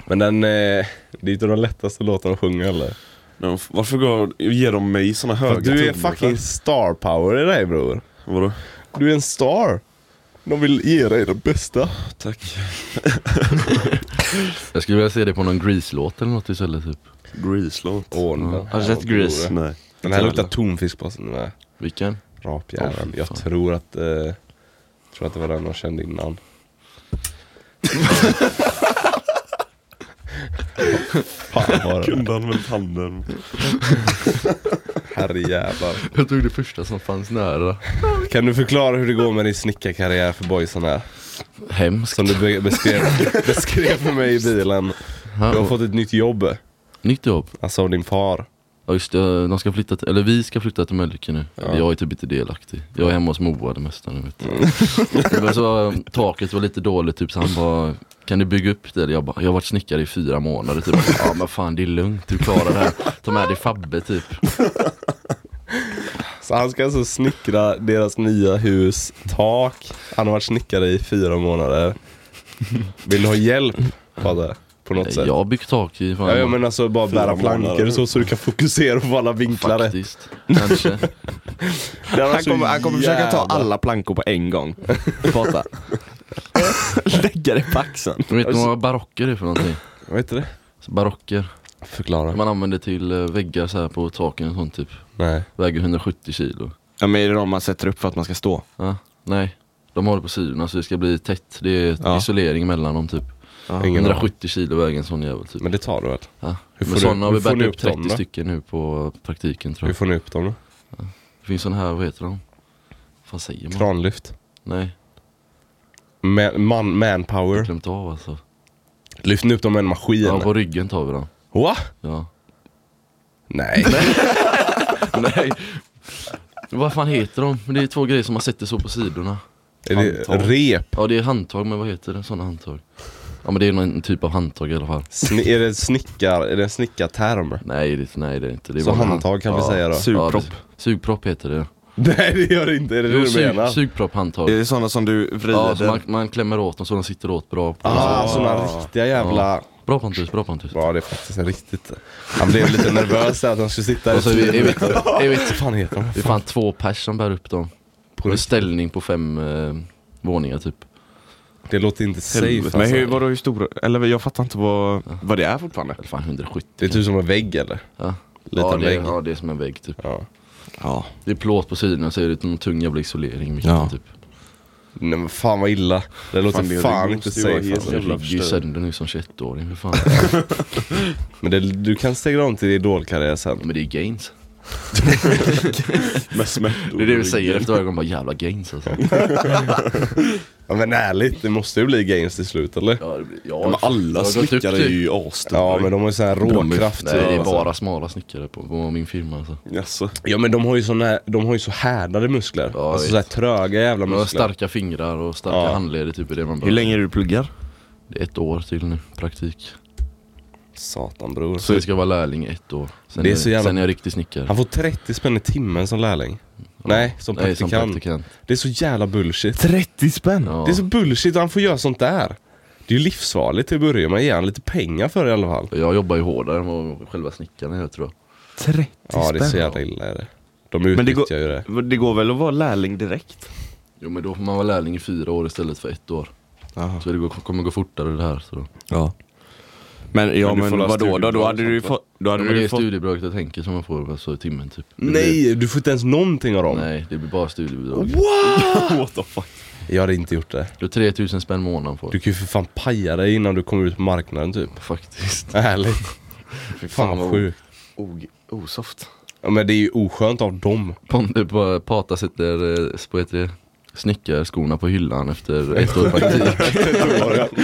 S1: Men den, eh, det är inte de lättaste låtarna att sjunga heller.
S2: Nej, Varför går, ger de mig såna
S1: För
S2: höga
S1: att Du är
S2: toner?
S1: fucking star power i dig bror.
S2: Vadå?
S1: Du är en star. De vill ge dig det bästa.
S2: Tack.
S4: Jag skulle vilja se det på någon Grease-låt eller något istället typ.
S2: Grease-låt.
S1: Åh,
S4: Ja.
S1: den
S4: Har du
S1: här
S4: sett
S1: var
S4: Grease?
S1: god.
S2: Nej.
S1: Den här luktar tonfisk på sig. Den här.
S4: Vilken? Åh,
S1: Rapjäveln.
S4: fy
S1: jag
S4: fan.
S1: tror att, eh, jag tror att det var den de kände innan. Fan var det?
S2: Kunde använt handen.
S1: Herrejävlar.
S4: Jag tog det första som fanns nära.
S1: Kan du förklara hur det går med din snickarkarriär för boysen här?
S4: Hemskt.
S1: Som du be- beskrev, beskrev för mig i bilen. Du har fått ett nytt jobb,
S4: Nytt jobb.
S1: alltså av din far.
S4: Ja just det, de ska flytta till, eller vi ska flytta till Mölnlycke nu. Jag är typ inte delaktig. Jag är hemma hos Moa det mesta nu vet du. Det
S1: Mm.
S4: var så, um, taket var lite dåligt typ så han bara Kan du bygga upp det? Jag bara, jag har varit snickare i fyra månader typ. Ja men fan det är lugnt, du klarar det här. Ta med dig Fabbe typ.
S1: Så han ska alltså snickra deras nya hus tak. Han har varit snickare i fyra månader. Vill du ha hjälp, fader? På något sätt?
S4: Jag har byggt tak i fan.
S1: Ja, ja men alltså bara
S2: Fyra
S1: bära
S2: månader.
S1: plankor så, så du kan fokusera på alla vinklar rätt.
S4: Faktiskt. Kanske.
S1: Det var
S3: Han
S1: så
S3: kommer, han kommer försöka ta
S1: jävla-
S3: alla plankor på en gång. Prata. Lägga det på axeln.
S4: Men vet du vad barocker är för någonting?
S1: Vad heter det?
S4: Så barocker.
S1: Förklara.
S4: Man använder till eh, väggar så här på taken och sånt typ.
S1: Nej.
S4: Väger 170 kilo.
S3: Ja men är det de man sätter upp för att man ska stå?
S4: Ja, nej. De har det på sidorna så det ska bli tätt. Det är
S3: Ja.
S4: isolering mellan dem typ.
S1: Ingen aning.
S4: 170 kilo väger en sån jävel typ.
S1: Men det tar du väl?
S4: Ja.
S1: hur får
S4: Men sådana
S1: du-
S4: har
S1: hur
S4: vi
S1: får
S4: bärt
S1: ni
S4: upp
S1: upp dem
S4: 30
S1: då?
S4: stycken nu på praktiken tror
S1: Hur
S4: jag.
S1: får ni upp dem då?
S4: Det finns sådana här, vad heter de? Vad fan säger man?
S1: Kranlyft?
S4: Nej,
S1: Man, man, manpower?
S4: glömt av alltså.
S1: Lyft ni upp dem med en maskin?
S4: Ja, på ryggen tar vi dem.
S1: Va?
S4: Ja.
S1: Nej.
S4: nej. Vad fan heter de? Det är två grejer som man sätter så på sidorna.
S1: Är det
S2: Handtag.
S1: rep?
S4: Ja det är handtag, men vad heter det? Sådana handtag. Ja men det är någon typ av handtag i alla fall.
S1: Sni- är det snickar, är det en snickarterm?
S4: Nej det, är inte- nej, det är inte. Det är
S1: Så
S4: bara hand-
S1: handtag kan vi säga då?
S4: Ja,
S3: Sugpropp.
S4: det- sugpropp heter det.
S1: Nej det gör det inte, är det
S4: Jo,
S1: det du menar?
S4: sug, sugpropp handtag.
S2: Är det såna som du vrider?
S4: Ja, så man, man klämmer åt dem så de sitter åt bra. På
S1: ah, såna riktiga jävla...
S4: Bra Pontus, bra Pontus.
S1: Ja det är faktiskt en riktigt... Han blev lite nervös där att han skulle sitta här
S4: Och så är vi, är vi, är vi,
S1: Vad fan heter de?
S4: det är fan två pers som bär upp dem. På en ställning på fem eh, våningar typ.
S1: Det låter inte safe
S2: Helvete.
S1: alltså.
S3: Men hur, vadå hur stor? Eller jag fattar inte vad, vad det är fortfarande.
S4: Eller fan 170.
S1: Det är typ som en vägg eller?
S4: Ja.
S1: Liten
S4: ja, det,
S1: vägg.
S4: ja, det är som en vägg typ.
S1: Ja.
S3: Ja.
S4: Det är plåt på sidorna så är det någon tung jävla isolering i mitten
S3: Ja.
S4: typ.
S1: Nej men fan vad illa. Det låter
S2: det-
S1: fan,
S2: det
S1: inte
S2: måste ju vara
S1: safe
S2: helt
S1: alltså.
S4: Jag
S2: jävla
S4: ligger ju
S2: förstörd.
S4: sönder nu som 21-åring för fan.
S1: Men det, du kan stegra om till idolkarriär sen.
S4: Men det är gains.
S2: Med smärtor.
S4: Det är det vi säger efter varje gång, bara jävla gains alltså.
S1: Ja, men ärligt, det måste ju bli games till slut eller?
S4: Ja, det blir, ja,
S2: Men
S4: jag har
S2: alla
S4: gått upp
S2: snickare är
S4: till-
S2: ju asstora.
S1: Ja men de har ju sån här råkraft
S4: Nej, det är
S1: alltså.
S4: bara smala snickare på, på min firma alltså.
S2: Jaså?
S1: Ja men de har ju sån här, de har ju så härdade muskler.
S4: Ja,
S1: alltså
S4: visst.
S1: så här tröga jävla
S4: Man har
S1: muskler.
S4: starka fingrar och starka
S1: Ja.
S4: handleder, typ är det man
S6: Hur
S4: behöver.
S6: länge är du pluggar?
S4: Det är ett år till nu, praktik.
S1: Satan bror.
S4: Så jag ska vara lärling i ett år. Sen
S1: Det är
S4: är,
S1: så jävla-
S4: sen är jag riktig snickare.
S1: Han får 30 spänn i timmen som lärling. Nej, som
S4: Nej, som
S1: praktikant.
S4: praktikant.
S1: Det är så jävla bullshit.
S6: 30 spänn!
S4: Ja.
S1: Det är så bullshit att han får göra sånt där. Det är ju livsfarligt till att börja med. Ge han lite pengar för det i alla fall.
S4: Jag jobbar ju hårdare än vad själva snickarna gör tror jag.
S6: 30
S1: Ja det är så
S6: spänn!
S1: jävla illa är det. De
S6: Men det
S1: utnyttjar
S6: går,
S1: ju det.
S6: det går väl att vara lärling direkt?
S4: Jo men då får man vara lärling i fyra år istället för ett år.
S6: Jaha.
S4: Så det går, kommer gå fortare det här. Så. då.
S6: Ja.
S3: Men ja
S2: Men du
S3: men,
S2: får ha
S3: vadå då? Då
S2: studiebidrag
S3: hade du ju
S2: och sånt,
S3: fått... Då
S4: Ja,
S3: hade
S4: men
S3: du
S4: det är
S3: ju fått...
S4: studiebidraget jag tänker som man får alltså, i timmen typ. Det blir-
S1: Nej, du får inte ens någonting av dem.
S4: Nej, det blir bara studiebidrag.
S2: What the fuck?
S1: Jag hade inte gjort det.
S4: Du har 3000 spänn månaden får
S1: Du
S4: du.
S1: kan ju för fan paja dig innan du kommer ut på marknaden typ.
S4: Faktiskt.
S1: Ärligt. Fy fan vad sjukt.
S3: Og- Osoft.
S1: Ja, men det är ju oskönt av dem.
S4: Pontus på Pata sitter, eh, vad heter det? Snickarskorna på hyllan efter ett år praktik.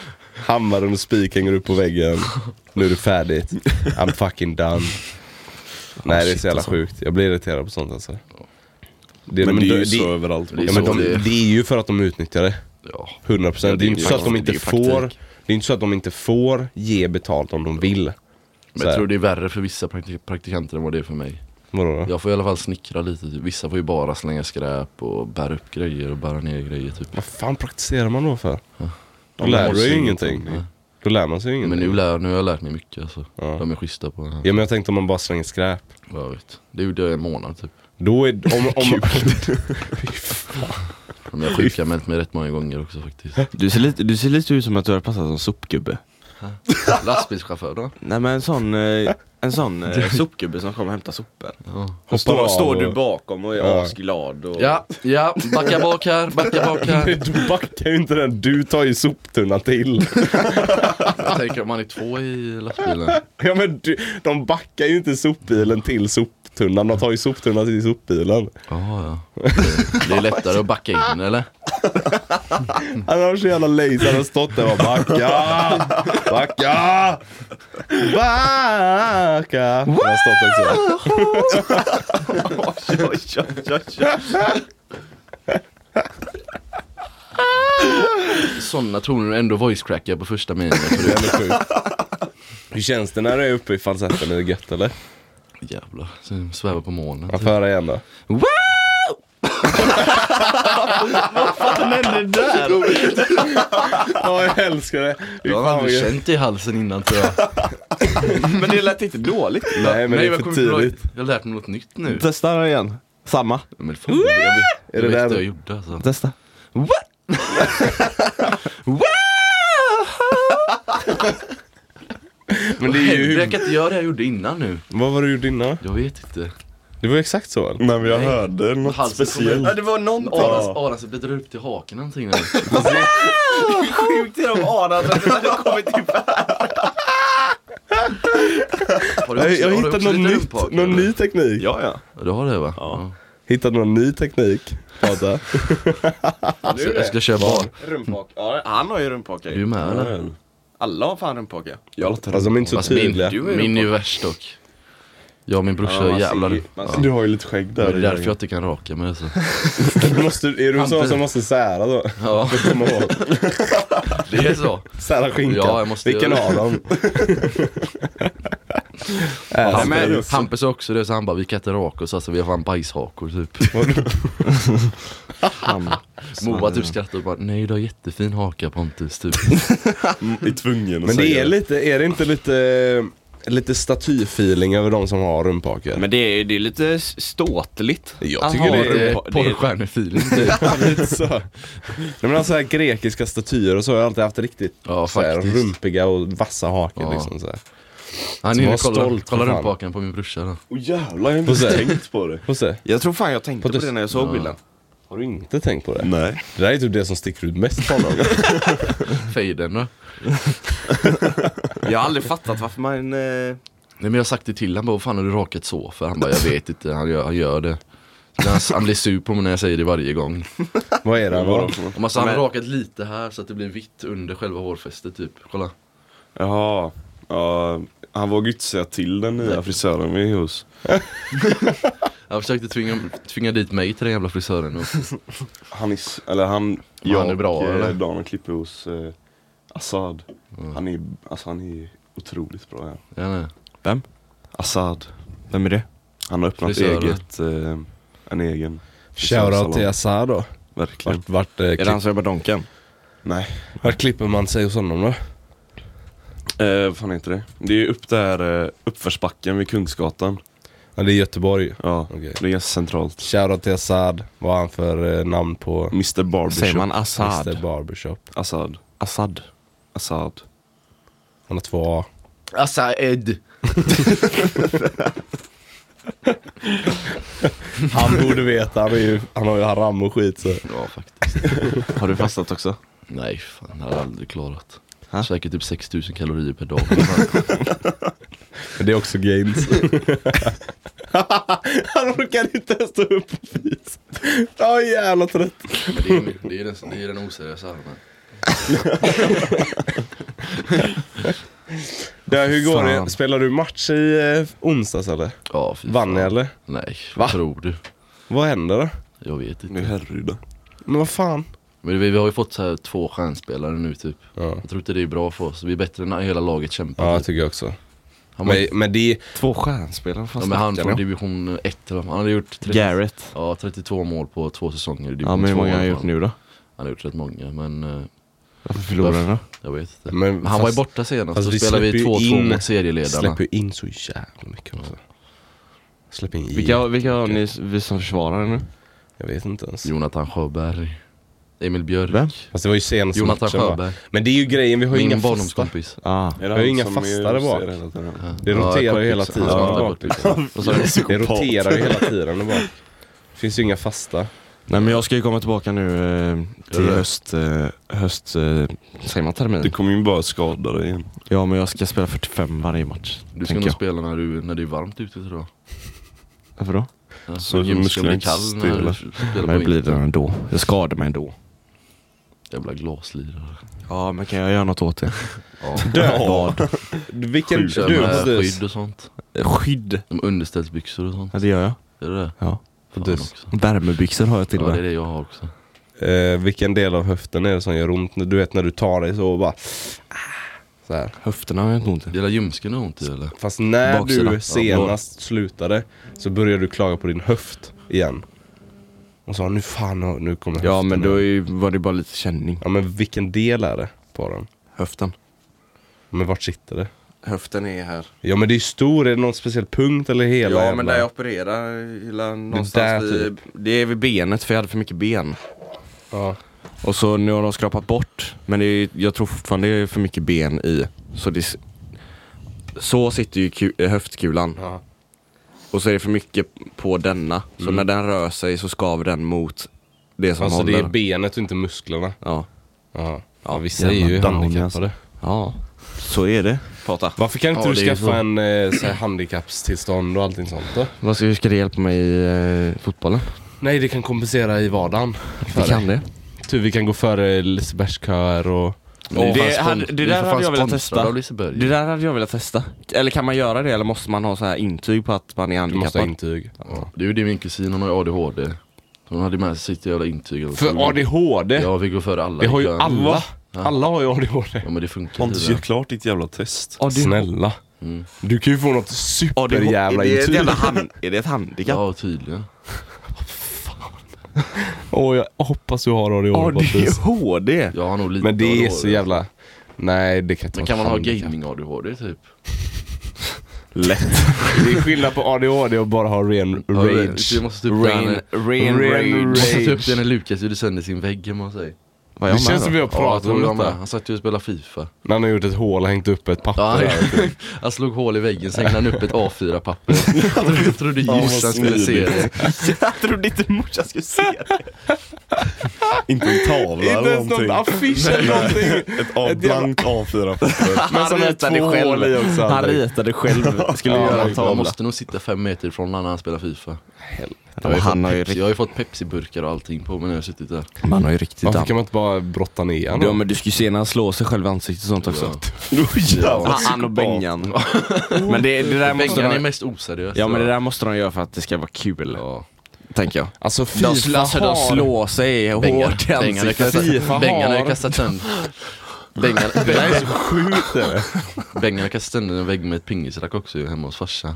S1: Hammaren och spik hänger upp på väggen. Nu är det färdigt. I'm fucking done. Nej det är så jävla sjukt. Jag blir irriterad på sånt alltså. Det,
S2: Men det är ju
S1: det-
S2: så överallt.
S4: det är
S1: ja,
S4: så
S1: men de,
S4: det är.
S1: det är ju för att de utnyttjar det.
S4: Ja.
S1: 100% procent.
S4: Ja,
S1: det,
S4: det
S1: är
S4: är
S1: inte
S4: ju
S1: så att de
S4: faktiskt-
S1: inte
S4: det är ju
S1: får
S4: praktik.
S1: Det är inte så att de inte får ge betalt om de vill.
S4: Men
S1: Så här.
S4: jag tror det är värre för vissa praktik- praktikanter än vad det är för mig.
S1: Vadå då?
S4: Jag får i alla fall snickra lite typ. Vissa får ju bara slänga skräp och bära upp grejer och bära ner grejer typ.
S1: Vad fan praktiserar man då för? Då
S4: De
S1: lär
S4: lär
S1: du
S4: sig
S1: ju ingenting.
S4: ingenting.
S1: Då lär man sig ju
S4: Men nu,
S1: ingenting.
S4: lär, nu har jag lärt mig mycket alltså.
S1: Ja.
S4: De är schyssta på det här.
S1: Ja men jag tänkte om man bara slänger skräp.
S4: Vad jag vet. Det gjorde jag i en månad typ.
S1: Då är, om, om,
S4: Men jag sjukanmält mig rätt många gånger också faktiskt.
S6: Du ser, lite, du ser lite ut som att du har passat som sopgubbe.
S4: Lastbilschaufför då?
S3: Nej men en sån, eh, en sån eh, sopgubbe som kommer och hämtar sopor.
S4: Ja.
S1: Hoppar av
S3: Står, står
S1: och-
S3: du bakom och är
S1: Ja.
S3: asglad och...
S4: Ja, ja, backa bak här, backa bak här.
S1: Du backar ju inte den, du tar ju soptunnan till.
S4: Jag tänker om man är två i lastbilen.
S1: Ja men du, de backar ju inte sopbilen till soptunnan, de tar ju soptunnan till sopbilen.
S4: Jaha, ja. Det- Det är lättare att backa in eller?
S1: Han har så jävla lazy, han har stått där och bara backa, backa, backa. Han har stått också.
S4: Sådana toner och ändå voice-crackar på första meningen. För det
S1: Det är ändå sjukt. Hur känns det när du är uppe i falsetten? Är det gött eller?
S4: är jävlar, så svävar på molnen.
S1: Man får höra igen då. Ja, jag älskar det. Fy
S4: Jag
S1: fan,
S4: har
S1: vad
S4: aldrig
S1: gött.
S4: känt det i halsen innan tror jag.
S3: Men det lät inte dåligt.
S1: Nej men det är för tidigt.
S4: Jag har lärt mig något nytt nu.
S6: Testa den igen. Samma.
S4: Men fan, jag vet, jag
S1: det
S4: vet
S1: där
S4: inte
S1: då?
S4: vad jag gjorde alltså.
S6: Testa.
S1: Men det är ju
S4: Helvete, jag
S1: hur...
S4: kan inte göra det jag gjorde innan nu.
S1: Vad var det du gjorde innan?
S4: Jag vet inte.
S1: Det var ju exakt så väl?
S2: Nej men jag hörde något
S4: Halsen
S2: speciellt.
S3: Ja, det var någonting.
S4: Aras, Aras biter upp till haken någonting nu.
S3: Sjukt hur de anade att det hade kommit till
S4: Har du
S1: Jag,
S4: också-
S1: jag har
S4: har du
S1: hittat
S4: också
S1: något
S4: lite
S1: nytt,
S4: rumphake,
S1: någon
S4: eller?
S1: ny teknik.
S2: Ja ja.
S4: Ja, Du har det va? Ja.
S1: Hittat någon ny teknik. Prata.
S4: Så jag ska köra bar.
S3: rumphaka. Ja, han har ju rumphaka
S4: Du
S3: ju.
S4: med eller?
S3: Alla har fan rumphaka.
S2: Jag låter
S1: Alltså de är inte så
S4: Fast min,
S1: tydliga.
S3: är ju
S4: min är ju värst dock. Jag och min brorsa
S3: Ja, man
S4: är
S3: ser
S4: jävlar.
S3: ju- man
S4: Ja.
S3: ser-
S2: Du har ju lite skägg
S4: Det
S2: där.
S4: är
S2: i
S4: därför jag
S2: gänget.
S4: inte kan raka mig alltså.
S1: Du måste, är du en sån som måste sära då?
S4: Ja,
S1: För att komma ihåg.
S4: det är så.
S1: Sära skinkan.
S4: Ja, jag måste
S1: Vilken
S4: göra det.
S1: av dem? Äh,
S4: Hampus,
S3: men-
S4: Hampus- Hampus är också det, så han bara vi kan inte raka oss alltså, vi har fan bajshakor typ. Moa typ skrattar och bara nej du har jättefin haka Pontus typ.
S2: Mm, Är tvungen att
S1: Men det
S2: säga
S1: är lite, är det inte lite, lite statyfeeling över de som har rumphake?
S3: Men det är, det är lite ståtligt.
S1: Jag tycker det är
S3: rumpa- det är-
S4: Porrstjärnefeeling typ.
S1: lite så. Nej, men alltså här grekiska statyer och så har jag alltid haft riktigt
S4: Ja,
S1: så här,
S4: faktiskt.
S1: rumpiga och vassa haken
S4: Ja.
S1: liksom så här.
S4: Han
S1: Så
S4: är inne
S1: var
S4: och kollar,
S1: stolt, för
S4: kollar
S1: fan.
S4: rumphakan på min brorsa då.
S2: Åh jävlar, jag har
S1: Får
S2: inte
S1: se.
S2: tänkt på det.
S1: Får se.
S3: Jag tror fan jag tänkte på
S1: Pontus-
S3: det när jag såg bilden.
S1: Har du inte tänkt på det?
S2: Nej.
S1: Det där är typ det som sticker ut mest på honom.
S4: Fejden då.
S3: Jag har aldrig fattat varför man... Eh,
S4: Nej men jag har sagt det till han bara, vad fan har du rakat så för? Han bara, jag vet inte, han gör, han gör det. Han, han blir sur på mig när jag säger det varje gång.
S1: Vad är det han var?
S4: Om alltså, han har rakat lite här så att det blir vitt under själva hårfästet typ. Kolla.
S2: Jaha. Ja, han vågade ju inte säga till den nya frisören vi är hos.
S4: Jag försökte tvinga, tvinga dit mig till den jävla frisören. Och,
S2: Han är, s- eller han, jag
S4: är bra,
S2: och eh,
S4: eller? Mm.
S2: Dan klipper hos eh, Assad. Han är, alltså han är otroligt bra här.
S4: ja, nej.
S2: Assad.
S3: Vem är det?
S2: Han har öppnat
S4: Frisören.
S2: eget, eh, en egen
S1: Shoutout till
S2: frisörsalong.
S1: Assad då.
S2: Verkligen.
S1: Vart, vart, eh,
S3: Är det
S1: klipp,
S3: han som jobbar Donken?
S2: Nej.
S1: vart klipper man sig hos honom då?
S2: Eh, vad fan heter det? Det är upp där, eh, uppförsbacken vid Kungsgatan.
S1: Ja, det är Göteborg.
S2: Ja,
S1: Okej.
S2: det är ganska centralt.
S1: Shoutout till Assad. Vad har han för eh, namn på
S2: Mr Barbershop.
S3: Säger man
S1: Mr
S3: Assad?
S1: Barbershop?
S2: Assad.
S3: Assad?
S2: Assad.
S1: Han har två A. Alltså,
S4: Assa Ed.
S1: Han borde veta, han, är ju, han har ju haram och skit så.
S4: Ja faktiskt.
S3: Har du fastat också?
S4: Nej fan, det hade jag aldrig klarat.
S3: Ha?
S4: Säkert typ 6000 kalorier per dag.
S1: Men det är också gains. han orkar inte ens stå upp och fis. Ja jävla trött.
S4: Men det är ju- det är ju den, det är den oseriösa armen.
S1: Ja, hur går
S3: Fan.
S1: det? Spelar du match i eh, onsdags eller?
S4: Ja, fy
S1: Vann
S4: fan.
S1: ni eller?
S4: Nej, vad tror du?
S1: Vad händer då?
S4: Jag vet inte.
S2: Nu är Härryda.
S1: Men vad fan?
S4: Men vi, vi har ju fått så här två stjärnspelare nu typ.
S1: Ja,
S4: Jag tror inte det är bra för oss. Vi är bättre när hela laget kämpar.
S1: ja
S4: typ.
S1: jag tycker jag också.
S4: Han var,
S1: Men, men det,
S3: Två stjärnspelare
S4: ja,
S3: fast
S4: men han
S3: snackar
S4: från
S3: ni om?
S4: division 1 eller vad- Han hade gjort 30,
S3: Garrett.
S4: ja, 32 mål på två säsonger i division
S3: Ja men hur
S4: 2
S3: många har
S4: i alla
S3: han gjort
S4: fall.
S3: nu då?
S4: Han har gjort rätt många men eh,
S3: Varför förlorade han då?
S4: jag vet inte.
S1: Men
S4: Men han
S1: fast-
S4: var ju borta senast,
S1: fast
S4: så
S1: vi
S4: spelade vi
S1: släpper ju
S4: 2-2
S1: in-
S4: mot serieledarna.
S1: släpper ju in så jävla mycket också. Släpper in i.
S3: Vilka, vilka har ni vi som försvarare nu?
S1: Jag vet inte ens.
S4: Jonathan Sjöberg. Emil Björk.
S3: Vem?
S1: Fast det var ju senaste
S4: Jonathan
S1: matchen va?
S4: Sjöberg.
S1: Men det är ju grejen, vi har ju
S4: Min
S1: inga fasta.
S4: barndomskompis.
S3: Ah.
S2: Är
S1: har ju
S2: han
S1: inga
S2: som
S1: fastare
S2: är-
S1: bak.
S2: hela tiden?
S1: Det roterar ju hela tiden.
S4: kortpixlar. Han som
S1: Ja.
S4: alltid har kortpixlar.
S1: Vad sa du? Det roterar ju hela tiden. Det bara. finns ju inga fasta.
S3: Nej men jag ska ju komma tillbaka nu eh, till
S4: Gör det.
S3: höst, eh, höst eh, säger
S2: Du
S3: man termin?
S2: kommer ju bara skada dig igen.
S3: Ja men jag ska spela 45 varje match.
S4: Du ska
S3: tänker
S4: nog
S3: jag.
S4: spela när, du, när det är varmt ute tror jag.
S3: Varför då?
S4: Ja,
S2: Så
S4: så gymmet ska
S2: musklerna
S4: bli
S2: inte
S4: kall när du
S2: stela.
S4: spelar
S3: Men
S4: på
S3: det blir
S4: blir...
S3: det ändå. Jag skadar mig ändå.
S4: Jävla glaslirare.
S3: Ja men kan jag göra något åt det?
S4: Ja.
S3: Vad?
S1: Vilken,
S4: Kör
S1: du
S4: med
S1: precis.
S4: skydd och sånt.
S3: Skydd.
S4: De underställsbyxor och sånt.
S3: Ja det gör jag.
S4: Är det det?
S3: Ja.
S4: Fan
S1: Dus.
S4: också.
S3: Värmebyxor har jag till
S4: Ja
S3: och
S4: det är
S3: med.
S4: det jag har också.
S1: Eh, vilken del av höften är det som gör ont? Du vet när du tar dig så och bara... Ah, Så här.
S3: Höfterna har jag inte ont i.
S4: Det är ljumsken har ont i eller?
S1: Fast när
S3: Baksida.
S1: du senast slutade så började du klaga på din höft igen. Och sa nu fan, nu kommer höften.
S3: Ja men då
S1: här."
S3: är, ju- var det bara lite känning.
S1: ja men vilken del är det på den?
S3: Höften.
S1: Men vart sitter det?
S7: Höften är här.
S1: Ja men det är ju stor, är det någon speciell punkt eller hela
S7: ja
S1: jävla-
S7: men där jag opererar, hela
S1: där
S7: någonstans vid...
S3: Det är vid benet för jag hade för mycket ben.
S1: ja.
S3: Och så nu har de skrapat bort, men det är, jag tror fortfarande det är för mycket ben i. Så, det, s- så sitter ju ku, eh, höftkulan.
S1: Ja.
S3: Och så är det för mycket på denna. Så när den rör sig så skaver den mot Mm. det som
S1: Alltså det
S3: håller.
S1: är benet och inte musklerna.
S3: ja.
S1: Ja,
S3: Ja,
S1: vissa
S3: jävla downy,
S1: handikappade.
S3: ja, så är det. Prata.
S1: Varför kan inte
S4: Ja,
S1: du
S4: det är ju så.
S1: skaffa en eh, så här, handikappstillstånd och allting sånt då?
S3: Vad ska, hur ska det hjälpa mig i eh, fotbollen?
S1: Nej, det kan kompensera i vardagen.
S3: Vi kan det.
S1: Tur Typ, vi kan gå före Lisebergsköer och...
S3: det hade- det där hade jag velat testa.
S4: Av Liseberg.
S3: Det där hade jag velat testa. Eller kan man göra det eller måste man ha så här intyg på att man är
S1: Du måste
S3: handikappad?
S1: ha intyg.
S4: Ja. Det är ju det min kusin, hon har ju ADHD. Hon hade med sig sitt jävla intyg. och så-
S1: För ADHD?
S4: Ja vi går före alla.
S1: det har ju
S4: kan-
S1: alla.
S4: Ja.
S1: Alla har ju ADHD.
S4: Ja men det funkar
S2: Pontus,
S4: inte.
S2: gör
S4: det.
S2: klart ditt jävla test.
S3: ADHD.
S1: Snälla.
S4: Mm.
S1: Du kan ju få något
S3: är
S1: superjävla
S3: det ett
S1: intyg.
S3: jävla hand, Är det ett handikapp?
S4: Ja tydligen.
S1: Åh, jag hoppas du har ADHD, Pontus.
S3: ADHD?
S4: Jag har nog lite
S1: Men det är
S4: ADHD.
S1: så jävla... Nej, det kan inte vara
S4: Men kan man ha
S1: handikapp.
S4: gaming-ADHD typ?
S2: Lätt.
S1: Det är skillnad på ADHD och bara ha ren rage.
S4: Vi måste typ rain,
S1: Rain,
S3: Rage.
S4: Måste typ ta upp den när Lukas gjorde sönder sin vägg hemma hos sig.
S3: Vad
S1: Det känns som vi har pratat
S4: jag
S1: om
S4: tror jag med.
S1: detta.
S4: Han satt ju och spelade FIFA.
S1: När han har gjort ett hål och hängt upp ett papper.
S4: Ja,
S1: där.
S4: han, han slog hål i väggen, sen hängde han upp ett A4-papper. Jag trodde morsan skulle se det.
S3: Jag trodde inte morsan skulle se det.
S2: Inte en tavla
S1: Inte
S2: eller
S1: ens
S2: någonting.
S1: någon affisch eller någonting.
S2: Ett A- blankt A4-papper.
S1: Men som är två hål i också.
S3: Han
S1: Andrei.
S3: ritade själv. Skulle
S1: Ja,
S3: göra
S1: han
S3: en
S4: Man
S3: tavla.
S4: måste nog sitta fem meter ifrån honom när han spelar FIFA. Jag har, ju
S6: han
S4: fått
S6: har ju
S4: Pepsi, jag har ju fått Pepsi-burkar och allting på mig när jag har suttit där.
S6: Man har ju riktigt
S1: Varför kan man inte bara brotta ner
S6: Ja
S1: honom?
S6: men du ska ju se när han slår sig själv i ansiktet och sånt också.
S1: Ja.
S6: Han, han och Bengan. men det, det där måste
S4: Bengan är
S6: de,
S4: mest oseriös.
S6: Ja men det där måste de göra för att det ska vara kul. Tänker jag.
S1: Alltså
S6: De,
S1: Fifa
S6: sl- alltså, de
S1: har...
S6: slår sig hårt i
S4: Bengan, Bengan har
S6: ansiktet.
S4: kastat-
S1: Fifa
S4: Bengan har
S1: har-
S4: ju kastat sönder... Bengan,
S1: Det där är så sjukt det där.
S4: Bengan har kastat sönder en vägg med ett pingisrack också ju hemma hos farsan.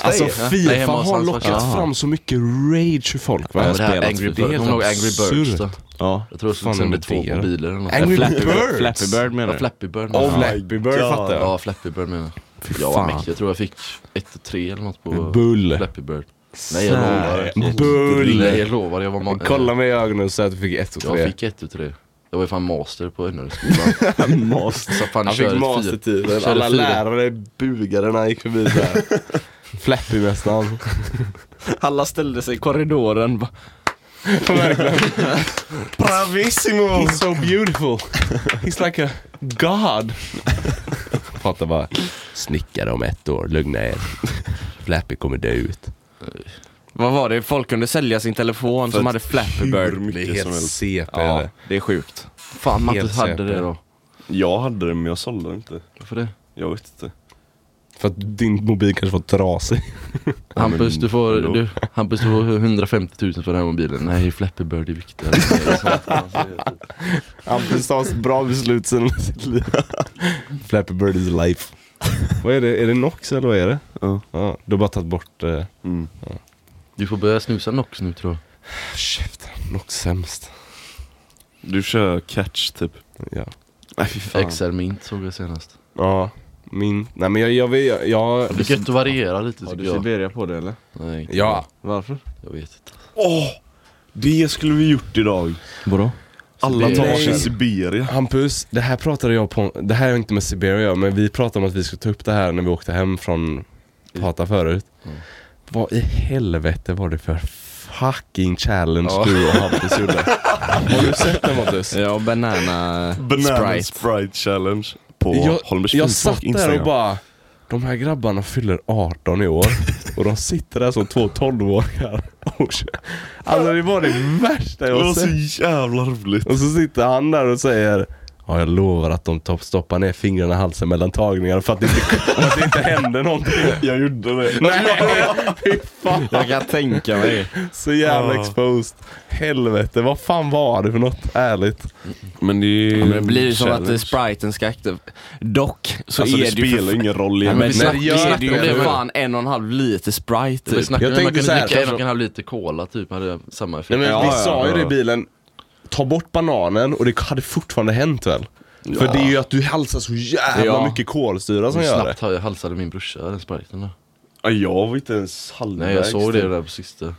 S1: Alltså
S4: Nej,
S1: Fifa
S4: hemma hos
S1: har
S4: hans
S1: lockat
S4: farsa.
S1: fram så mycket rage ur folk va?
S4: Ja, men det här Angry
S1: Fifa.
S4: Birds, kommer du ihåg Angry Birds då?
S1: absurt.
S6: Ja.
S4: Jag tror det
S1: Fan,
S4: slog sönder
S1: det
S4: två
S1: är det.
S4: mobiler eller något.
S1: Angry
S4: Flappy-
S1: Birds!
S6: Flappy Bird menar
S4: Ja,
S6: du?
S4: Flappy Bird
S1: Oh,
S4: menar jag.
S1: Flappy Bird fattar jag.
S4: Ja, Flappy Bird menar jag. Jag var
S6: fan.
S4: mäktig, jag tror jag fick 1 och 3 eller något på
S1: Bull.
S4: Flappy Bird. Nej jag lovar.
S1: Bull.
S4: Nej jag lovar, jag var ma- eh,
S1: Kolla mig i ögonen och säg att du fick ett och
S4: Jag
S1: tre.
S4: fick 1 och 3. Jag var ju fan master på NR-skolan.
S1: Master.
S4: Så fan,
S1: Han
S4: körde
S1: fick
S4: fyra-
S1: mastertiteln,
S4: körde
S1: alla
S4: fyra.
S1: lärare bugade när han gick förbi såhär. Flappymästaren.
S6: Alla ställde sig i korridoren. bara,
S1: Bravissimo! He's so beautiful. He's like a god. Fattar bara. Snickare om ett år, lugna er. Flappy kommer dö ut.
S6: Vad var det? Folk kunde sälja sin telefon som hade Flappy Bird.
S1: Det är helt CP. är
S6: Ja,
S1: det.
S6: det är sjukt.
S4: Fan Mattes
S1: Helt
S4: hade
S1: säker.
S4: det då.
S2: Jag hade det men jag sålde det inte.
S4: Varför det?
S2: Jag vet inte.
S1: För att din mobil kanske var trasig.
S4: Hampus du får,
S2: hallå.
S4: du, Hampus du får 150 000 för den här mobilen. Nej Flappy Bird är viktigare.
S1: Hampus tar bra beslut sen sitt liv. Flappy Bird is life. vad är det? Är det Nox eller vad är det?
S2: Ja.
S1: du har bara tagit bort... Eh...
S2: Mm.
S4: Du får börja snusa Nox nu tror jag.
S1: Käften, Nox sämst.
S2: Du kör catch typ.
S1: Ja.
S2: Nej fy fan.
S4: XR Mint såg jag senast.
S1: Ja, min... Nej men jag... Jag, jag, jag,
S4: Det är gött att variera lite
S3: Har
S4: tycker
S3: du
S4: jag.
S3: Siberia på det eller?
S4: Nej, inte
S1: ja.
S3: Varför?
S4: jag vet inte.
S2: Åh! Det skulle vi gjort idag.
S6: Vadå?
S2: Alla
S4: Siberia.
S2: tar
S1: Nej.
S2: sig till Siberia.
S1: Hampus, det här pratade jag på, det här är inte med Siberia men vi pratade om att vi skulle ta upp det här när vi åkte hem från Pata förut. Vad i helvete var det för fucking challenge
S4: Ja.
S1: du och Hampus gjorde? Har du sett den Pontus?
S6: Ja, banana
S2: Banana Sprite,
S6: Sprite.
S2: challenge. På
S1: Jag,
S2: Holmbergs
S1: jag
S2: Facebook,
S1: satt där
S2: Instagram.
S1: och bara, de här grabbarna fyller 18 i år och de sitter där som två 12-åringar. och kör. Alltså det var det värsta
S2: Det
S1: jag
S2: var
S1: har sett.
S2: så jävla roligt.
S1: Och så sitter han där och säger Ja, jag lovar att de topp- stoppar ner fingrarna i halsen mellan tagningarna för att det inte, för att det inte händer någonting.
S2: Jag gjorde det.
S1: Nej, fy fan.
S6: Jag kan tänka mig.
S1: Så jävla
S2: Ja.
S1: exposed. Helvete, vad fan var det för något? Ärligt.
S2: Men det är ju...
S6: Men det blir ju som att
S2: challenge.
S6: eh, spriten ska aktiv... Dock så
S2: Alltså
S6: är
S2: det
S6: det ju
S2: spelar
S6: för...
S2: ingen roll
S6: Nej, men
S2: egentligen.
S6: vi
S1: Nej, det
S6: snackar
S1: gör
S6: det är
S1: inte
S6: ju
S1: det.
S6: för fan en och en halv liter Sprite
S4: Vi
S6: typ.
S4: snackade
S1: Jag
S4: om
S1: tänkte
S4: att man kunde
S1: så här,
S4: dricka en och
S1: kanske-
S4: en halv liter cola typ, hade samma effekt.
S1: Nej, men
S2: Ja,
S1: vi
S2: ja,
S1: sa ju
S2: ja.
S1: det i bilen, ta bort bananen och det hade fortfarande hänt väl? För det är ju att du halsar så jävla
S6: Ja.
S1: mycket kolsyra som
S4: Hur
S1: gör det.
S4: snabbt har jag halsade min brorsa den spriten då?
S2: Ja, jag var inte ens halvvägs.
S4: Nej jag såg det
S2: typ.
S4: där på sista.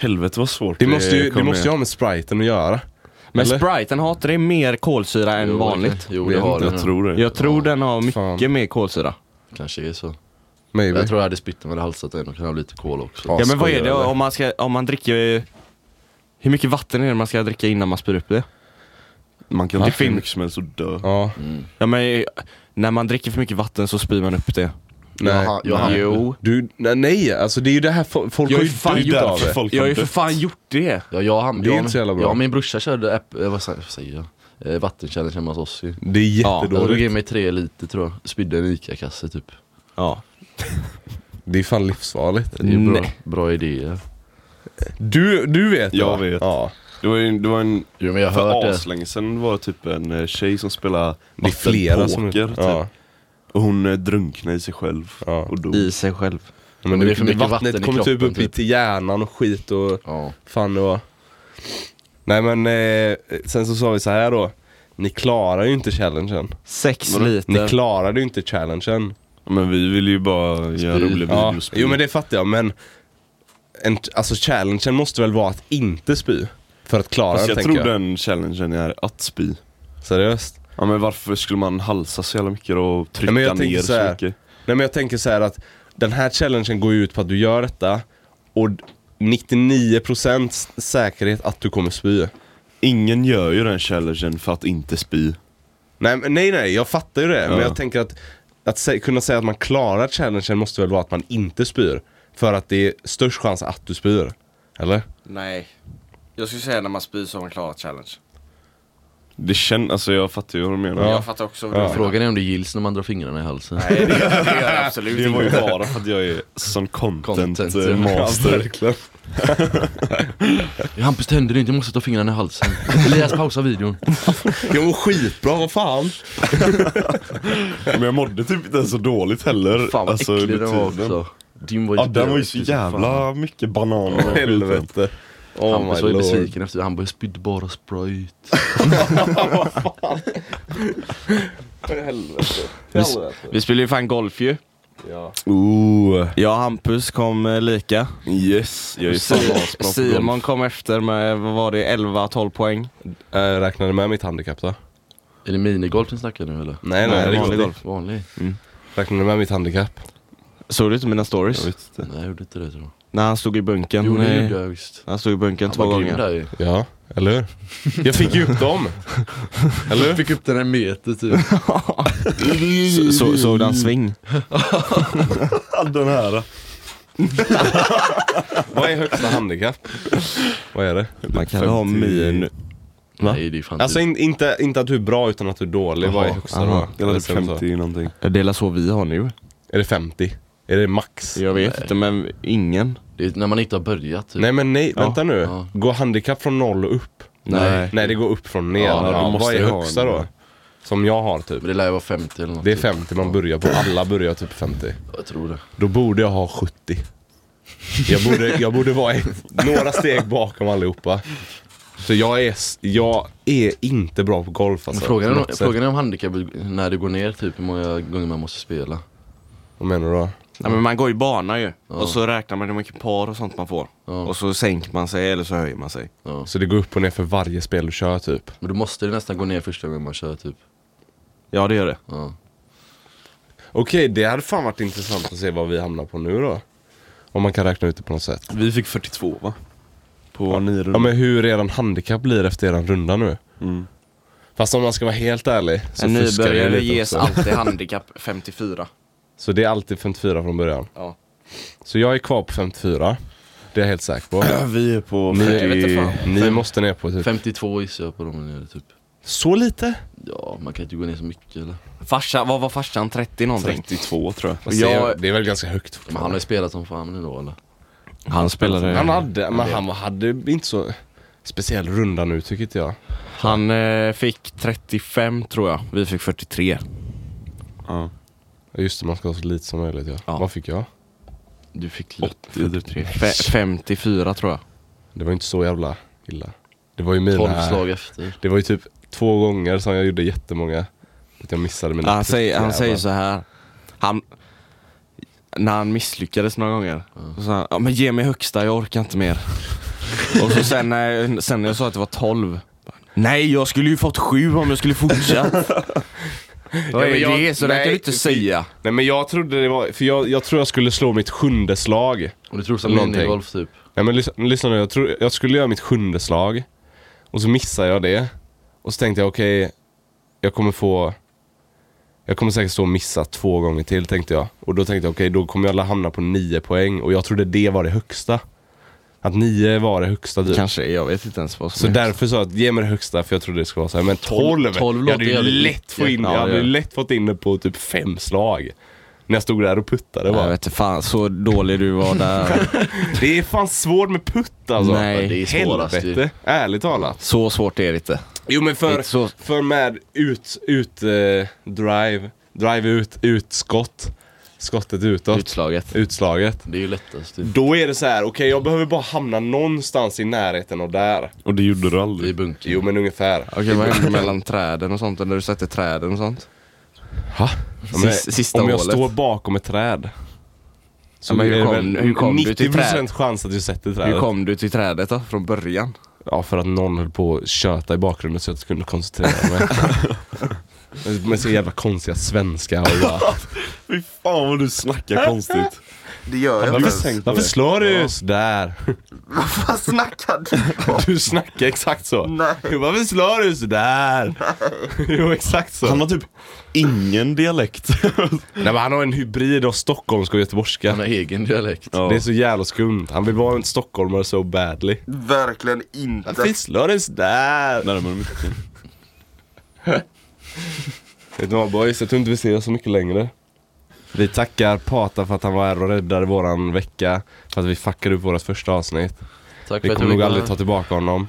S2: Helvete vad svårt
S1: Det måste ju, det
S2: kommer
S1: måste ju
S2: igen.
S1: ha med spriten att göra.
S6: Men
S1: Eller?
S6: spriten har inte det mer kolsyra än
S4: Jo,
S6: vanligt?
S4: det- Jo det har den.
S2: Jag tror det.
S6: Jag tror den har mycket
S1: Fan.
S6: mer kolsyra.
S4: Kanske är så.
S1: Maybe.
S4: Jag tror jag hade spytt om jag hade halsat en och en halv liter cola också.
S6: Ja men vad är
S1: skojar
S6: det
S1: du?
S6: om man, ska, om man dricker... Hur mycket vatten är det man ska dricka innan man spyr upp det?
S2: Man kan
S6: Det
S2: dricka hur
S6: finns-
S2: mycket som helst och dö.
S1: Ja.
S6: Ja men när man dricker för mycket vatten så spyr man upp det.
S1: Nej.
S4: Jag, jag, jag,
S6: Jo.
S1: Du, nej, nej, alltså det är ju det här fo- folk
S6: Jag
S1: har
S6: är
S1: ju
S6: fan
S1: dött
S6: död
S1: av det.
S2: Folk
S6: Jag har
S2: har
S6: ju för
S2: dött.
S6: fan gjort det!
S4: jag, jag,
S1: Det är inte så jävla bra.
S4: jag och min brorsa körde, äpp, eh, vad sa- vad säger jag? Eh, Vattenkärlen hemma hos oss ju.
S1: Det är
S4: Jag drog
S1: jättedåligt.
S4: in mig tre liter tror jag, spydde en ICA-kasse typ.
S6: Ja.
S1: det är fan livsfarligt.
S4: Det är ju bra,
S6: Nej.
S4: bra idéer.
S1: Du, du vet
S2: Jag
S1: va?
S2: vet.
S1: Ja.
S2: Det var ju det var en...
S4: Jo men jag har hört
S2: För
S4: det.
S2: aslänge sen var det typ en eh, tjej som spelade
S1: Det är flera som...
S2: vattenpoker typ.
S1: Ja.
S2: Och hon eh, drunknade i sig själv
S1: Ja.
S2: och dog.
S6: I sig själv.
S1: Men,
S4: Men
S1: du-
S4: det är för mycket
S1: vattnet
S4: vatten i
S1: kommer typ
S4: kroppen,
S1: upp
S4: typ.
S1: till hjärnan och skit och
S4: Ja.
S1: fan det var... Nej men eh, sen så sa vi så här då. Ni klarar ju inte challengen.
S6: Sex
S1: Ni
S6: liter.
S1: klarade ju inte challengen.
S2: Men vi vill ju bara göra
S4: Spy.
S2: roliga
S1: Ja.
S2: videos.
S1: Jo men det fattar jag men... En, alltså challengen måste väl vara att inte spy? För att klara
S2: Fast
S1: den
S2: Alltså, jag
S1: tänker
S2: tror
S1: jag.
S2: den challengen är att spy.
S1: Seriöst?
S2: Ja men varför skulle man halsa så jävla mycket då och trycka
S1: men jag tänker
S2: ner
S1: så
S2: så,
S1: här.
S2: mycket?
S1: Nej men jag tänker så här att den här challengen går ju ut på att du gör detta och 99% säkerhet att du kommer spy.
S2: Ingen gör ju den challengen för att inte spy.
S1: Nej men- nej, nej jag fattar ju det. Men
S2: Ja.
S1: jag tänker att, att sä- kunna säga att man klarar challengen måste väl vara att man inte spyr. För att det är störst chans att du spyr. Eller?
S8: Nej. Jag skulle säga när man spyr så har man klarat challenge.
S2: Det känns, alltså jag fattar ju vad du menar.
S8: Men jag fattar också vad du menar.
S4: Frågan är om det gills när man drar fingrarna i halsen.
S8: Nej det gör, det gör jag absolut
S2: Det var ju
S8: inte.
S2: bara för att jag är sån content,
S4: Content,
S2: eh,
S4: ja.
S1: Ja,
S2: master.
S1: verkligen.
S4: Hampus tänder inte, jag måste ta fingrarna i halsen. Elias pausa videon.
S1: Jag mår skitbra, vad fan?
S2: Men jag mådde typ inte ens så dåligt heller.
S4: Fan vad
S2: alltså,
S4: äcklig
S2: under
S4: den var
S2: tiden.
S4: också. Din var
S2: Ja den var ju så
S4: blöt, fy fan.
S2: jävla mycket banan och skiten.
S1: Helvete. Oh my
S4: Hampus var ju
S1: lord.
S4: besviken efter det, han bara jag spydde bara sprite.
S3: Vi spelade ju fan golf ju.
S2: Ooh.
S3: Jag och Hampus kom eh, lika.
S2: Yes, jag är fan asbra på golf.
S3: Simon kom efter med, vad var det, 11-12 poäng.
S1: Äh, räknar du med mitt handikapp då?
S4: Är det minigolf ni snackar nu eller?
S1: Nej,
S3: Nej,
S1: nej,
S3: vanlig
S1: nej
S3: golf.
S4: Vanlig?
S1: Räknar du med mitt handikapp?
S3: Såg du inte mina stories?
S4: Nej jag gjorde inte det tror jag.
S3: När han stod i bunkern.
S4: Jo det
S3: eh,
S4: gjorde jag visst.
S3: Han stod i bunkern
S4: Han
S3: två
S4: var grym
S3: gånger.
S4: där ju.
S1: Ja, eller hur? Jag fick ju upp dem. Eller hur?
S4: Fick upp den en meter typ.
S3: Så- så- Såg du han sving?
S2: Den här.
S1: Vad är högsta handikapp? Vad är det?
S3: Man kan ha min...
S4: Nej det är fan
S1: Alltså
S4: typ-
S1: in, inte, inte att du är bra utan att du är dålig. Vad är högsta
S3: aha.
S1: då?
S2: Jag hade
S1: Eller så-
S2: 50 någonting.
S3: Det är så vi har nu.
S1: Är det 50? Är det max?
S3: Jag vet inte men ingen.
S4: det är när man inte har börjat typ.
S1: Nej men nej, vänta nu.
S4: Ja.
S1: Går handikapp från noll och upp?
S3: Nej.
S1: Nej det går upp från ner.
S4: Ja,
S1: Ja,
S4: då
S1: Vad
S2: måste
S1: är
S2: jag ha
S1: högsta
S2: en-
S1: då? Som jag har typ.
S4: Men det lär ju vara 50 eller något.
S1: Det är
S4: typ.
S1: 50 man börjar på, alla börjar typ 50.
S4: Jag tror det.
S1: Då borde jag ha 70. Jag borde, jag borde vara ett, några steg bakom allihopa. Så jag är, s- jag är inte bra på golf
S4: Men
S1: alltså.
S4: frågan,
S1: på
S4: är,
S1: något
S4: om-
S1: sätt.
S4: frågan är om handikappet när det går ner typ hur många gånger man måste spela.
S1: Vad menar du då?
S3: Nej, men man går ju bana ju. Och så räknar man hur mycket par och sånt man får.
S4: Ja.
S3: Och så sänker man sig eller så höjer man sig.
S1: Så det går upp och ner för varje spel du kör typ.
S4: Men då måste det nästan gå ner första gången man kör typ.
S3: Ja det gör det.
S4: Ja.
S1: Okej, det hade fan varit intressant att se vad vi hamnar på nu då. Om man kan räkna ut det på något sätt.
S2: Vi fick 42 va? På nio
S1: Ja
S4: Mm.
S2: rundor.
S1: men hur eran handikapp blir efter eran runda nu. Fast om man ska vara helt ärlig så
S3: en
S1: fuskar det ju
S3: nybörjare
S1: lite
S3: ges
S1: också.
S3: alltid handikapp 54.
S1: Så det är alltid 54 från början.
S3: Ja.
S1: Så jag är kvar på 54. Det är jag helt säker på.
S2: Vi är på
S1: Ni,
S3: Jag vet inte
S1: ni måste ner på typ.
S4: 52 gissar jag på dem nere typ.
S1: Så lite?
S4: Ja, man kan inte gå ner så mycket eller?
S3: Farsan, vad var farsan? 30 någonting?
S2: 32 tror jag.
S1: Fast det är- Det är väl ganska högt
S4: Men han har ju spelat som fan ändå eller?
S3: Han spelade...
S1: Han
S3: Han,
S1: hade, men han hade inte så speciell runda nu tycker inte jag.
S3: eh, fick 35 tror jag. Vi fick 43.
S2: Ja.
S1: Ja, Just det, man ska ha så lite som möjligt ja.
S3: Ja.
S1: Vad fick jag?
S3: Du fick
S1: typ.
S2: 83.
S3: Fe- 54 tror jag.
S1: Det var inte så jävla illa. Det var ju mina...
S4: 12 slag efter.
S1: Det var ju typ två gånger som jag gjorde jättemånga. Att jag missade mina
S3: Han säger, han
S1: prickjävlar.
S3: säger så här. Han, när han misslyckades några gånger. Så sa han, ja, men ge mig högsta, jag orkar inte mer. och så sen när, sen när jag sa att det var 12. bara, Nej, jag skulle ju fått sju om jag skulle fortsatt. Vad är
S1: men jag-
S3: det? Så där kan
S1: nej,
S3: du inte
S1: fy-
S3: säga.
S1: Nej men jag trodde det var, för jag, jag tror jag skulle slå mitt sjunde slag.
S4: Och du tror som
S1: Någonting.
S4: minigolf typ?
S1: Nej men lyssna, lyssna nu, jag, tror, jag skulle göra mitt sjunde slag. Och så missade jag det. Och så tänkte jag okej, jag kommer få... Jag kommer säkert stå och missa två gånger till tänkte jag. Och då tänkte jag okej, då kommer jag hamna på nio poäng. Och jag trodde det var det högsta. Att nio var det högsta typ.
S3: Kanske, jag vet inte ens vad som
S1: Så
S3: är.
S1: därför sa jag att ge mig det högsta för jag trodde det skulle vara så här. Men 12!
S4: tolv
S1: jag hade ju
S4: låter jävligt
S1: lätt, få in,
S3: mycket.
S1: jag hade ju
S3: Ja, det-
S1: lätt fått in det på typ fem slag. När jag stod där och puttade
S3: Jag
S1: bara.
S3: vet inte, fan så dålig du var där.
S1: Det är fan svårt med putt alltså.
S3: Nej,
S4: det är svårast ju.
S1: Helvete, ärligt talat.
S3: så svårt är det inte.
S1: Jo men
S3: Det är
S1: för,
S3: inte så...
S1: för med ut, ut, eh, drive, drive ut, utskott, skottet utåt,
S3: Utslaget.
S1: utslaget.
S4: Det är ju lättast typ.
S1: Då är det så här, okej jag behöver bara hamna någonstans i närheten och där.
S2: Och det gjorde du
S4: Det är
S2: aldrig.
S4: bunkern.
S1: Jo men ungefär.
S3: Okej, vad hände mellan träden och sånt? Eller du sätter träden och sånt?
S1: Ja, men
S3: Sis- sista
S1: om jag
S3: hålet.
S1: står bakom ett träd. Så
S3: Ja, men hur
S1: är det
S3: kom-
S1: väl
S3: hur kom du till
S1: 90%
S3: träd?
S1: chans att du sätter
S3: Hur
S1: trädet.
S3: kom du till trädet då, från början?
S1: Ja, för att någon höll på att köta i bakgrunden så jag inte kunde koncentrera mig. Med så jävla konstiga svenska och bara,
S2: Fy fan vad du snackar konstigt.
S9: Det gör jag inte.
S1: Varför, varför slår du sådär?
S9: Vad fan snackar du om?
S1: Du snackar exakt så.
S9: Nej.
S1: Jo, varför slår du sådär? Jo, exakt så.
S2: Han har typ ingen dialekt.
S1: Nej, men han har en hybrid av stockholmska och göteborgska.
S10: Han har egen dialekt.
S1: Det är så jävla skumt. Han vill vara en stockholmare so badly.
S9: Verkligen inte.
S1: Fisslar det sådär?
S2: Närmare mycket.
S1: Vet ni vad boys, jag tror inte vi ser så mycket längre. Vi tackar Pata för att han var här och räddade våran vecka. För att vi fuckade upp vårt första avsnitt.
S10: Tack
S1: Vi
S10: för att
S1: kommer
S10: du ville
S1: nog aldrig ta
S10: komma.
S1: tillbaka honom.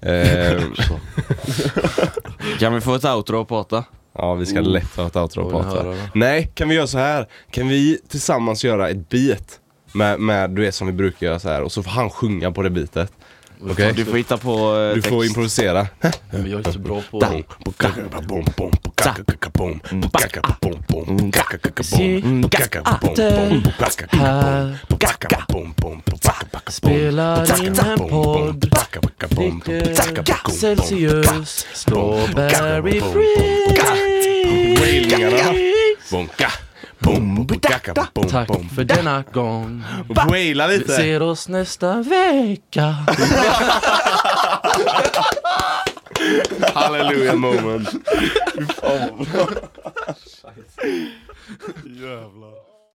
S1: Eh,
S3: Kan vi få ett outro och prata?
S1: ja, vi ska lätt ha ett outro
S10: Oj,
S1: på
S10: den här
S1: Pata.
S10: då.
S1: Nej, kan vi göra så här? Kan vi tillsammans göra ett beat? Med, med du vet som vi brukar göra så här och så får han sjunga på det beatet. Okej?
S3: Du får hitta på eh,
S1: Du
S3: text.
S1: får improvisera.
S10: Men jag är inte så bra på
S4: Mm. Spelar in en podd, dricker Celsius, strawberry free. Tack för denna gång.
S1: Waila
S4: Vi ser oss nästa vecka.
S1: Hallelujah moment.